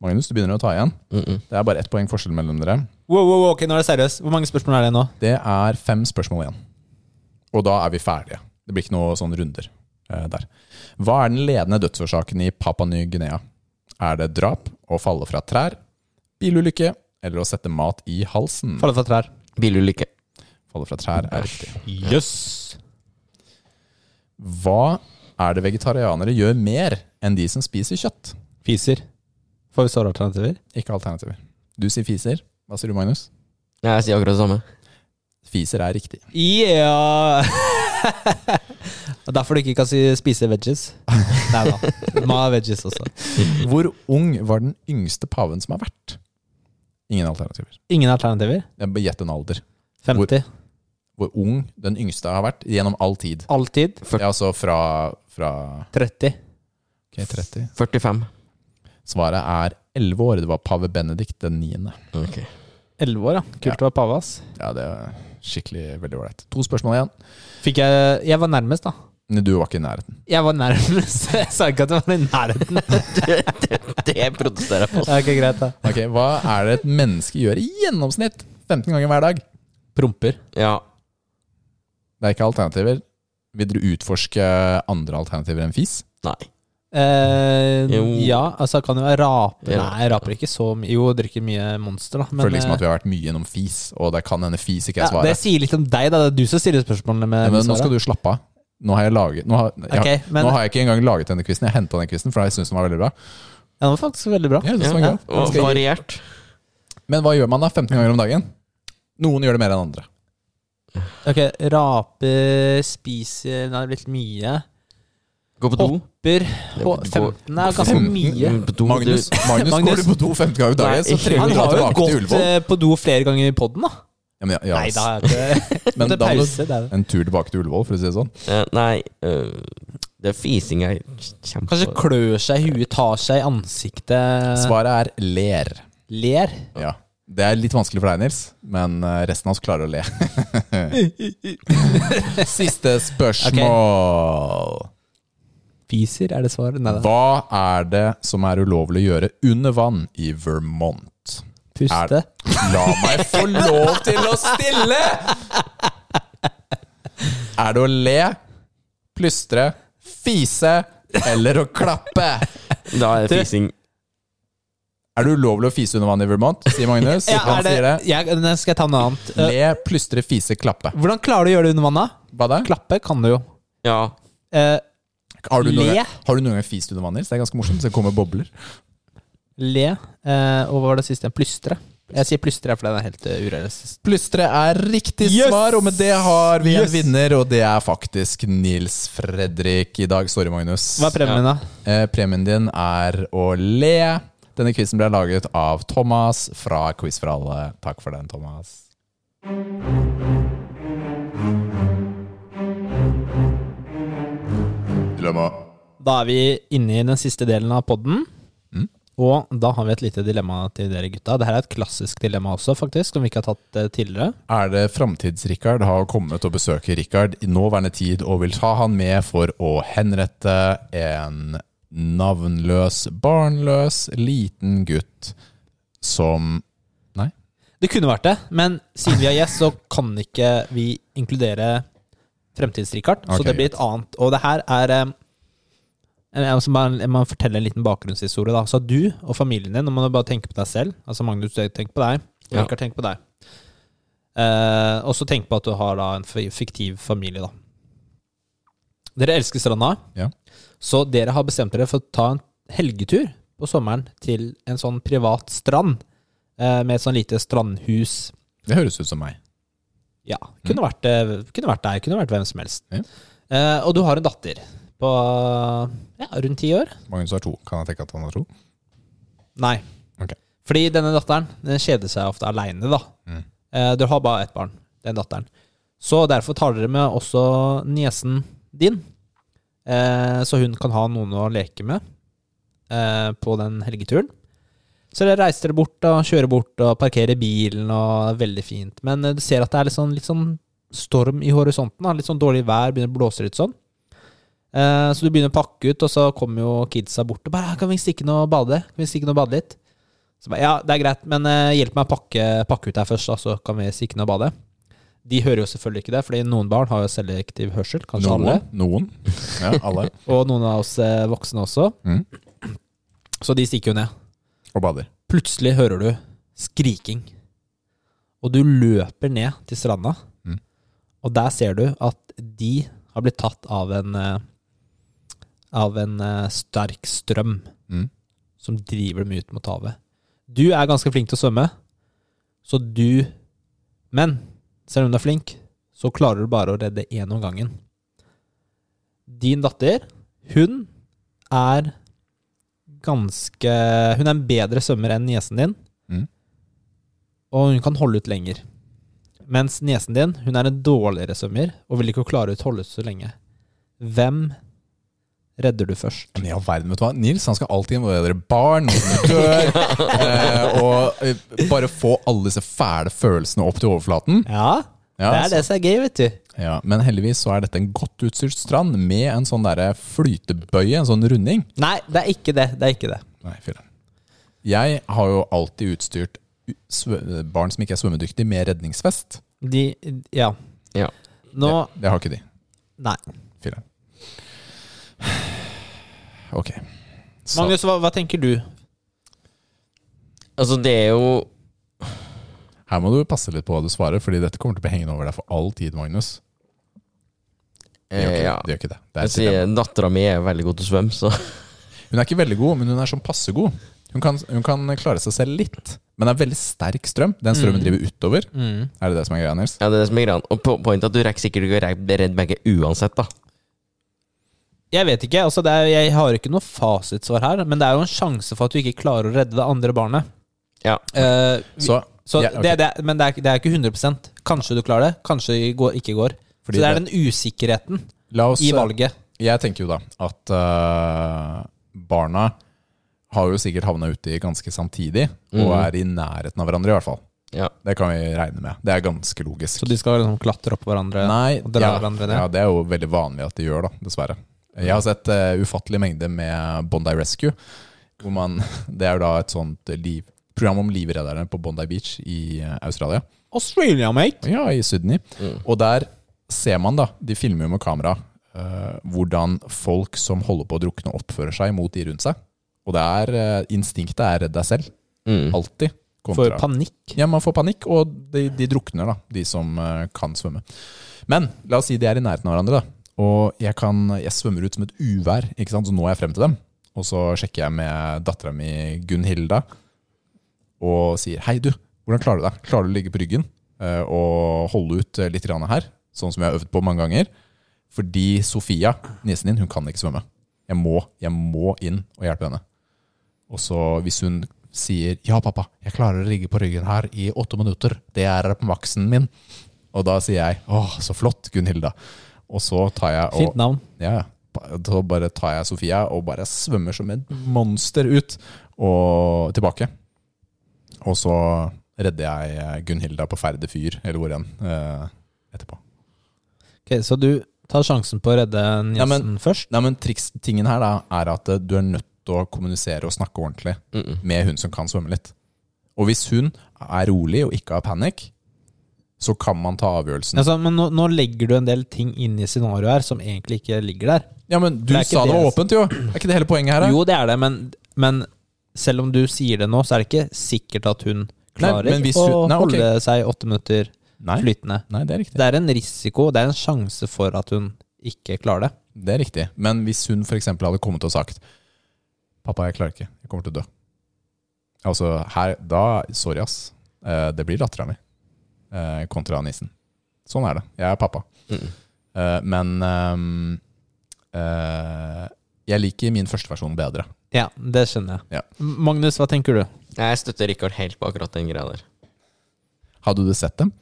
B: Magnus, du begynner å ta igjen.
C: Mm -mm.
B: Det er bare ett poeng forskjell mellom dere.
A: Wow, wow, wow, ok, nå er det seriøst. Hvor mange spørsmål er det nå?
B: Det er fem spørsmål igjen. Og da er vi ferdige. Det blir ikke noe sånn runder eh, der. Hva er den ledende dødsårsaken i Papua Ny-Guinea? Er det drap, å falle fra trær, bilulykke eller å sette mat i halsen?
A: Falle fra trær.
C: Bilulykke.
B: Falle fra trær er riktig.
A: Jøss.
B: Hva er det vegetarianere gjør mer enn de som spiser kjøtt?
A: Fiser. Får vi såre alternativer?
B: Ikke alternativer. Du sier fiser. Hva sier du, Magnus?
C: Nei, jeg sier akkurat det samme.
B: Fiser er riktig.
A: Ja [laughs] Og Derfor du ikke kan si spise [laughs] veggies. Nei da. Du må ha veggies også.
B: Hvor ung var den yngste paven som har vært? Ingen alternativer.
A: Ingen alternativer?
B: Jeg bare Gjett en alder.
A: 50.
B: hvor ung den yngste har vært gjennom all tid.
A: Alltid?
B: Ja, altså fra, fra
A: 30.
B: ok, 30.
C: 45.
B: Svaret er 11 år. Det var pave Benedikt den 9.
C: Ok.
A: 11 år, ja. Kult å være pave, ass.
B: Ja, det er skikkelig veldig ålreit. To spørsmål igjen.
A: Fikk jeg Jeg var nærmest, da.
B: Nei, Du var ikke i nærheten.
A: Jeg var nærmest. [laughs] Jeg sa ikke at jeg var i [laughs] nærheten.
C: Det protesterer jeg på.
A: Ja, Ok, greit, da.
B: Ok, Hva er det et menneske gjør i gjennomsnitt 15 ganger hver dag?
A: Promper.
C: Ja.
B: Det er ikke alternativer. Vil dere utforske andre alternativer enn fis?
C: Nei.
A: Eh,
C: Jo.
A: ja, altså kan jo være rape.
C: Ja.
A: Nei, jeg raper ikke så mye. Jo, drikker mye Monster, da. men,
B: Føler liksom
A: eh,
B: at vi har vært mye innom fis, og det kan hende fis ikke er
A: ja, det
B: svaret.
A: sier litt om deg, da. Det er du som stiller spørsmålene. med
B: Ja, men nå
A: svaret.
B: skal du slappe av. Nå har jeg laget Nå har, jeg,
A: Ok, men-
B: nå har jeg ikke engang laget denne quizen. Jeg henta den quizen, for jeg syns den var veldig bra.
A: Ja, det var faktisk veldig bra.
B: Ja, det
C: Ja,
B: var
A: ja.
B: gøy.
C: Og
B: Skal jeg-
C: Variert.
B: Men hva gjør man da 15 ganger om dagen? Noen gjør det mer enn andre.
A: Ok, Raper, spiser Nei, det er litt mye.
C: Gå på do.
A: Hopper
C: Gå-
A: Hå- 15 er ganske
B: 15?
A: mye.
C: På do,
B: Magnus,
C: du-
B: Magnus,
A: Magnus.
B: går du på do 15 ganger om dagen,
C: Nei,
B: så trenger
A: Han
B: du å
A: har
B: dra
A: jo
B: tilbake til
A: gått
B: Ullevål.
A: eh, på do flere ganger i poden, da.
B: Ja, men, ja,
A: Nei, da
B: ja,
A: er det
B: men
A: det er
B: da må du
A: pause. Det er det.
B: en tur tilbake til Ullevål, for å si det sånn.
C: Eh, Nei, eh, det er fising jeg kjemper
A: Kanskje klør seg i huet, tar seg i ansiktet,
B: Svaret er ler.
A: [laughs] ler.
B: Ja. Det er litt vanskelig for deg, Nils, men eh, resten av oss klarer å le. Siste spørsmål.
A: Fiser, er det svaret? Nei da.
B: Hva er det som er ulovlig å gjøre under vann i Vermont?
A: Puste.
B: La meg få lov til å stille! Er det å le, plystre, fise eller å klappe?
C: Da er det fising.
B: Er det ulovlig å fise under vann i Vermont, sier Magnus.
A: Ja,
B: Han
A: er det,
B: sier det.
A: jeg, nei, skal jeg ta noe annet? Eh,
B: Le, plystre, fise, klappe.
A: Hvordan klarer du å gjøre det under vannet?
B: Hva da?
A: Klappe kan du jo.
C: Ja.
A: Eh,
B: Har du, noen,
A: Le.
B: har du noen gang fist under vann, Nils? Det er ganske morsomt. Det kommer bobler.
A: le. Eh, og hva var det siste? Plystre. Jeg sier plystre, for den er helt eh, urealistisk.
B: Plystre er riktig
A: Yes!
B: svar, og med det har vi en
A: Yes!
B: vinner, og det er faktisk Nils Fredrik i dag. Sorry, Magnus.
A: Hva er premien, da?
B: Eh, Premien din er å le. Denne quizen ble laget av Thomas fra Quiz for alle. Takk for den, Thomas.
A: Da er vi inne i den siste delen av podden. Og da har vi et lite dilemma til dere gutta. Dette er et klassisk dilemma også, faktisk, som vi ikke har tatt eh, tidligere.
B: Er det Framtids-Richard har kommet og besøker Richard i nåværende tid og vil ta han med for å henrette en navnløs, barnløs liten gutt som Nei.
A: Det kunne vært det, men siden vi har gjest, så kan ikke vi inkludere Fremtids-Richard. så
B: Ok,
A: det blir et annet. Og det her er eh, jeg må bare- jeg må fortelle en liten bakgrunnshistorie. da. Så Du og familien din, nå må du bare tenke på deg selv. Altså Magnus, du tenker på deg.
C: Ja.
A: Richard, tenk på deg. Eh, og så tenk på at du har da en fi- fiktiv familie, da. Dere elsker stranda,
B: Ja.
A: så dere har bestemt dere for å ta en helgetur på sommeren til en sånn privat strand eh, med et sånn lite strandhus.
B: Det høres ut som meg.
A: Ja, kunne, vært, eh, kunne vært deg, kunne vært hvem som helst.
B: Mm. Ja.
A: Eh, og du har en datter på ja, rundt ti år.
B: Magnus har to. Kan jeg tenke at han har to?
A: Nei.
B: Ok.
A: Fordi denne datteren den kjeder seg ofte aleine, da.
B: Mm.
A: Eh, dere har bare ett barn, den datteren. Så derfor tar dere med også niesen din, eh, så hun kan ha noen å leke med eh, på den helgeturen. Så dere reiser dere bort og kjører bort og parkerer bilen, og det er veldig fint. Men eh, du ser at det er litt sånn, litt sånn storm i horisonten. Da. Litt sånn dårlig vær, begynner å blåse litt sånn. Eh, så du begynner å pakke ut, og så kommer jo kidsa bort og bare «Ah, 'Kan vi stikke ned og bade?' Kan vi stikke ned og bade litt? Så bare, ja, det er greit, men eh, hjelp meg å pakke, pakke ut her først, da, så kan vi stikke ned og bade. De hører jo selvfølgelig ikke det, fordi noen barn har jo selektiv hørsel, kanskje Altså, alle.
B: Noen? Noen? Ja, alle.
A: Og noen av oss eh, voksne også.
B: Mhm.
A: Så de stikker jo ned.
B: Og bader.
A: Plutselig hører du skriking. Og du løper ned til stranda,
B: Mhm.
A: og der ser du at de har blitt tatt av en eh, Av en eh, sterk strøm
B: Mhm.
A: som driver dem ut mot havet. Du er ganske flink til å svømme, så du Men selv om du er flink, så klarer du bare å redde én om gangen. Din datter, hun er ganske Hun er en bedre svømmer enn niesen din.
B: Mhm.
A: Og hun kan holde ut lenger. Mens niesen din hun er en dårligere svømmer og vil ikke klare ut holde ut så lenge. Hvem redder du først?
B: Men i all verden, vet du hva? Nils han skal alltid involvere barn, noen som dør, eh, og eh, bare få alle disse fæle følelsene opp til overflaten.
A: Ja,
B: Ja, altså.
A: det er det som er gøy, vet du.
B: Ja, men heldigvis så er dette en godt utstyrt strand med en sånn der flytebøye, en sånn runding.
A: Nei, det er ikke det. Det er ikke det.
B: Nei, fyren. Jeg har jo alltid utstyrt u- svø- barn som ikke er svømmedyktige, med redningsvest.
A: De Ja.
C: Ja.
A: Nå
B: Det, det har ikke de.
A: Nei.
B: Fyren. [sighs] Ok. Så,
A: Magnus, hva, hva tenker du?
C: Altså, det er jo
B: her må du passe litt på hva du svarer, fordi dette kommer til å bli hengende over deg for all tid, Magnus. Det gjør
C: eh,
B: ikke,
C: Ja.
B: det, gjør ikke det. det
C: Jeg
B: er et dilemma.
C: sier Dattera mi er veldig god til å svømme, så
B: Hun er ikke veldig god, men hun er sånn passe god. Hun kan, hun kan klare seg selv litt, men det er veldig sterk strøm. Den
A: Mm.
B: strømmen driver utover. Er det det som er greia, Nils?
C: ja, det er det som er greia. Og po- pointet er at du rekker sikkert ikke å re- redde begge uansett, da.
A: Jeg vet ikke. altså det er, Jeg har ikke noe fasitsvar her, men det er jo en sjanse for at du ikke klarer å redde det andre barnet.
C: Ja.
A: Eh, vi-
B: Så,
A: så
B: ja, ok.
A: det, det, men det er, ikke- det er ikke 100 Kanskje du klarer det, kanskje det går, ikke går.
B: Fordi
A: så det er
B: det-
A: den usikkerheten
B: La oss,
A: i valget.
B: Jeg tenker jo da at øh, barna har jo sikkert havna uti ganske samtidig, og
A: Mm.
B: er i nærheten av hverandre i hvert fall.
C: Ja.
B: Det kan vi regne med. Det er ganske logisk.
A: Så de skal liksom klatre opp hverandre
B: Nei,
A: og dra
B: ja,
A: hverandre ned?
B: ja, det er jo veldig vanlig at de gjør, da, dessverre. Jeg har sett eh, ufattelig mengde med Bondi Rescue. Hvor man, [laughs] det er jo da et sånt liv, program om livredderne på Bondi Beach i eh, Australia.
A: Australia, mate!
B: Ja, i Sydney. Og der ser man, da, de filmer jo med kamera, eh, hvordan folk som holder på å drukne, oppfører seg mot de rundt seg. Og det er eh, instinktet er redd deg selv.
C: Mm.
B: Alltid.
A: For
B: kontra-
A: panikk.
B: ja, man får panikk, og de, de drukner, da, de som eh, kan svømme. Men la oss si de er i nærheten av hverandre, da. og jeg, kan, jeg svømmer ut som et uvær, ikke sant? så nå er jeg frem til dem. Og så sjekker jeg med dattera mi Gunhilda og sier Hei, du, hvordan klarer du deg? Klarer du å ligge på ryggen eh, og holde ut eh, litt grann her? Sånn som jeg har øvd på mange ganger. Fordi Sofia, niesen din, hun kan ikke svømme. Jeg må, jeg må inn og hjelpe henne. Og så hvis hun sier 'ja, pappa, jeg klarer å ligge på ryggen her i åtte minutter', det er på maksen min. Og da sier jeg 'åh, så flott, Gunhilda'. Og så tar jeg og
A: Fint navn.
B: ja, ja. Ba- Så bare tar jeg Sofia og bare svømmer som et monster ut og tilbake. Og så redder jeg Gunhilda på Færde fyr, eller hvor enn, eh, etterpå.
A: Ok, så du tar sjansen på å redde niesen
B: Ja, men-
A: først?
B: Nei, men triks, tingen her da, er at eh, du er nødt til å kommunisere og snakke ordentlig
C: mm,
B: med hun som kan svømme litt. Og hvis hun er rolig og ikke har panikk, så kan man ta avgjørelsen.
A: Altså, men nå, nå legger du en del ting inn i scenarioet her som egentlig ikke ligger der.
B: Ja, men du
A: Det er ikke
B: sa det var
A: det-
B: åpent, jo! Er ikke det hele poenget her? da?
A: Jo, det er det, men, men selv om du sier det nå, så er det ikke sikkert at hun klarer
B: men hvis
A: å
B: hun- nei, ok.
A: holde seg åtte minutter
B: Nei.
A: flytende.
B: Nei, det er riktig.
A: Det er en risiko, det er en sjanse for at hun ikke klarer det.
B: Det er riktig. Men hvis hun f.eks. hadde kommet og sagt 'Pappa, jeg klarer ikke. Jeg kommer til å dø'. Altså, her Da Sorry, ass. Eh, Det blir dattera mi eh, kontra nissen. Sånn er det. Jeg er pappa.
C: Mm.
B: Eh, Men ehm, eh, jeg liker min første versjon bedre.
A: Ja, det skjønner
B: Ja.
A: jeg. M- Magnus, hva tenker du?
C: Jeg støtter Rikard helt på akkurat den greia der.
B: Hadde du sett dem?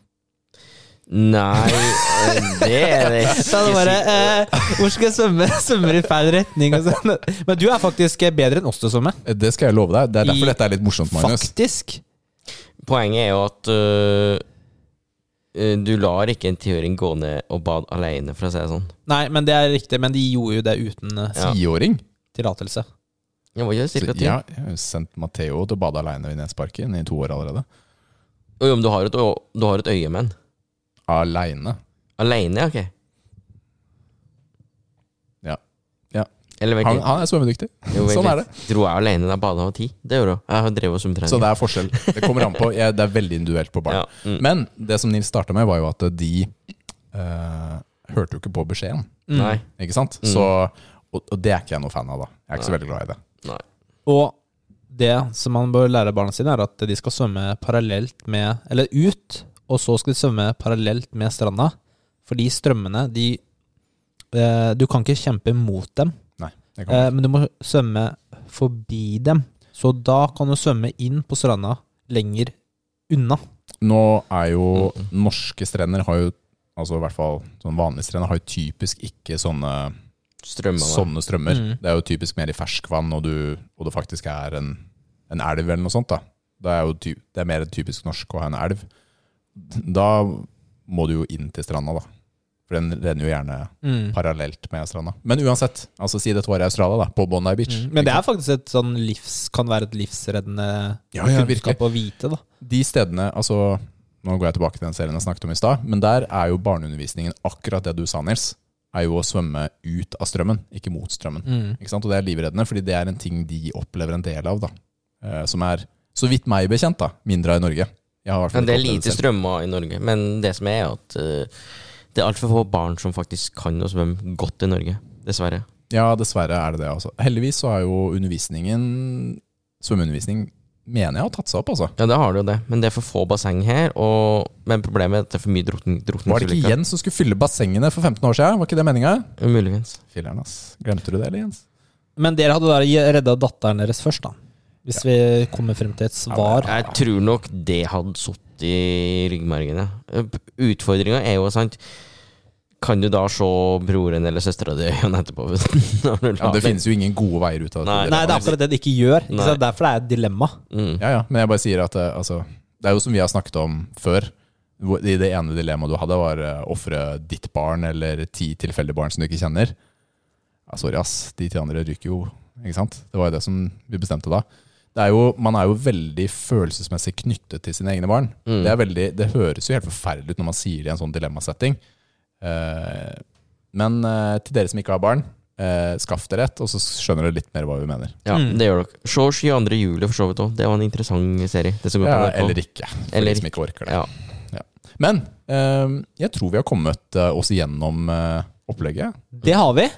C: [laughs] Nei, eh, det er det ikke.
A: Da er det bare
C: sikkert.
A: eh, Hvor skal jeg svømme? [laughs] Svømmer i feil retning og sånn. Men du er faktisk bedre enn oss til å svømme.
B: Eh, Det skal jeg love deg. Det er
A: I-
B: derfor dette er litt morsomt, Magnus.
A: Faktisk.
C: Poenget er jo at øh, øh, du lar ikke en tiåring gå ned og bade alene, for å si det sånn.
A: Nei, men det er riktig. Men de gjorde jo det uten eh,
C: Ja.
B: Tiåring.
A: tillatelse.
C: Jeg var jo
B: Så,
C: cirka ti.
B: Ja, jeg har jo sendt Matheo til å bade aleine i Nesparken i to år allerede.
C: Jo, jo, men du har, et, å- du har et øye med den.
B: Aleine.
C: Alene, ja, ok.
B: Ja. Ja.
C: Eller vet
B: Han,
C: ikke.
B: han er svømmedyktig.
C: Jo, vent
B: Sånn er
C: litt. Dro jeg alene da jeg bada da jeg var ti? Det gjorde hun. Jeg drev og svømmetrening.
B: Så det er forskjell. Det kommer an på. Jeg, det er veldig individuelt på barn.
C: Ja, mm.
B: Men det som Nils starta med, var jo at de eh, hørte jo ikke på beskjeden.
A: Mm.
C: Nei.
B: Ikke sant? Så, og, og det er ikke jeg noe fan av, da. Jeg er ikke så veldig glad i det.
C: Mm. Nei.
A: Og det som man bør lære barna sine, er at de skal svømme parallelt med Eller ut, og så skal de svømme parallelt med stranda. Fordi strømmene, de eh, Du kan ikke kjempe mot dem,
B: Nei, det kan
A: eh, men du må svømme forbi dem. Så da kan du svømme inn på stranda lenger unna.
B: Nå er jo norske strender har jo Altså i hvert fall sånn vanlige strender har jo typisk ikke sånne,
C: Strømma meg.
B: sånne strømmer.
A: Mm.
B: Det er jo typisk mer i ferskvann, og, du, og det faktisk er en, en elv eller noe sånt. da. Det er jo ty, det er mer typisk norsk å ha en elv. Da må du jo inn til stranda, da. For den renner jo gjerne
A: Mm.
B: parallelt med stranda. Men uansett, altså si dette var i Australia, da, på Bondi Beach.
A: Mm. Men det er faktisk et sånn livs, kan være et livsreddende Ah,
B: Ja, ja, virkelig.
A: kunnskap å vite, da.
B: de stedene altså, Nå går jeg tilbake til den serien jeg snakket om i stad, men der er jo barneundervisningen akkurat det du sa, Nils. Er jo å svømme ut av strømmen, ikke mot strømmen.
A: Mm.
B: Ikke sant? Og det er livreddende, fordi det er en ting de opplever en del av, da. Eh, som er, så vidt meg bekjent, da, mindre av i Norge. Jeg har i hvert fall
C: Men det er
B: ikke opplevd
C: lite
B: selv.
C: strømmer i Norge. Men det som er, er at øh, det er altfor få barn som faktisk kan å svømme godt i Norge. Dessverre.
B: Ja, dessverre er det det, altså. Heldigvis så er jo undervisningen, svømmeundervisning, mener jeg har tatt seg opp, altså.
C: Ja, det har du jo det, men det er for få basseng her. Og, men problemet er at det er for mye drukning-
B: Var det ikke
C: drukningsulykker.
B: Jens som skulle fylle bassengene for 15 år siden? Var ikke det meninga?
C: Muligens.
B: Filler'n, ass. Glemte du det, eller, Jens?
A: Men dere hadde da redda datteren deres først, da. Hvis vi kommer frem til et svar.
C: Jeg tror nok det hadde sittet i ryggmargen. ja. Utfordringa er jo, sant Kan du da se broren eller søstera di i øynene etterpå? [laughs] Når du
B: Ja,
C: lar
B: det
C: den-
B: finnes jo ingen gode veier ut av det. liksom-
C: Nei.
A: Nei, det er akkurat det de ikke gjør. Ikke
C: Nei.
A: sant? Derfor det er et dilemma.
C: Mm.
B: Ja, ja, men jeg bare sier at eh, altså, det er jo som vi har snakket om før. hvor- I det ene dilemmaet du hadde, var eh, ofre ditt barn eller ti tilfeldige barn som du ikke kjenner. Ja, sorry, ass. De ti andre ryker jo. Ikke sant? Det var jo det som vi bestemte da. Det er jo, man er jo veldig følelsesmessig knyttet til sine egne barn.
C: Mm.
B: Det, er veldig, det høres jo helt forferdelig ut når man sier det i en sånn dilemmasetting. Eh, men eh, til dere som ikke har barn, eh, skaff dere et, og så skjønner dere litt mer hva vi mener.
C: Ja,
A: Mm.
C: det gjør dere. Se 22. juli for så vidt òg. Det var en interessant serie. Det som går på
B: Ja,
C: NRK.
B: eller ikke. For
C: Eller
B: de som ikke orker det.
C: Ja.
B: Men eh, jeg tror vi har kommet eh, oss gjennom eh, opplegget.
A: Det har vi.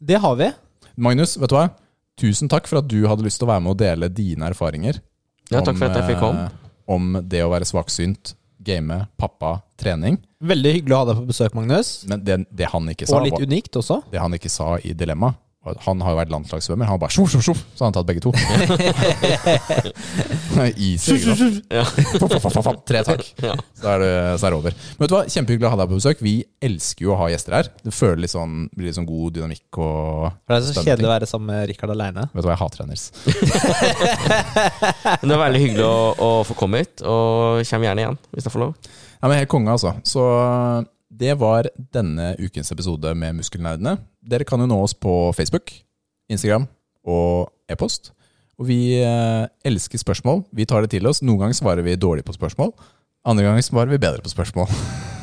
A: Det har vi.
B: Magnus, vet du hva? Tusen takk for at du hadde lyst til å være med og dele dine erfaringer.
C: ja, takk for at jeg fikk komme.
B: eh, Om det å være svaksynt, game, pappa, trening.
A: Veldig hyggelig å ha deg på besøk, Magnus.
B: Men det, det han ikke sa
A: Og litt
B: var-
A: unikt også.
B: det han ikke sa i Dilemma var at Han har jo vært landslagssvømmer. Han bare sjoff, sjoff, sjoff, så han har tatt begge to. [laughs] Easy. ikke sant? Fa, fa, fa, fa, fa. Tre takk. Så er det så er det over. Men vet du hva, Kjempehyggelig å ha deg på besøk. Vi elsker jo å ha gjester her. Det føler litt sånn, blir litt sånn god dynamikk og
A: For det er så
B: spennende ting.
A: kjedelig å være sammen med Rikard aleine.
B: Vet du hva, jeg hater Anders.
C: Men Det var veldig hyggelig å, å få komme hit, og kommer gjerne igjen hvis jeg får lov.
B: Ja, men helt konge, altså. Så det var denne ukens episode med Muskelnerdene. Dere kan jo nå oss på Facebook, Instagram og e-post. Og vi eh, elsker spørsmål. Vi tar det til oss. Noen ganger svarer vi dårlig på spørsmål. Andre ganger svarer vi bedre på spørsmål.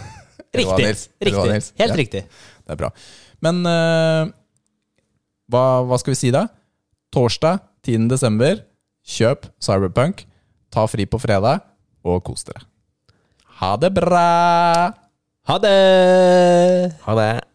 B: [laughs] Eller hva,
A: Riktig.
B: Nils? Eller hva,
A: riktig.
B: Nils?
A: Helt
B: Ja.
A: riktig.
B: Det er bra. Men eh, hva, hva skal vi si da? Torsdag 10. desember, kjøp Cyberpunk, ta fri på fredag, og kos dere. Ha det bra!
A: Ha det!
C: Ha det.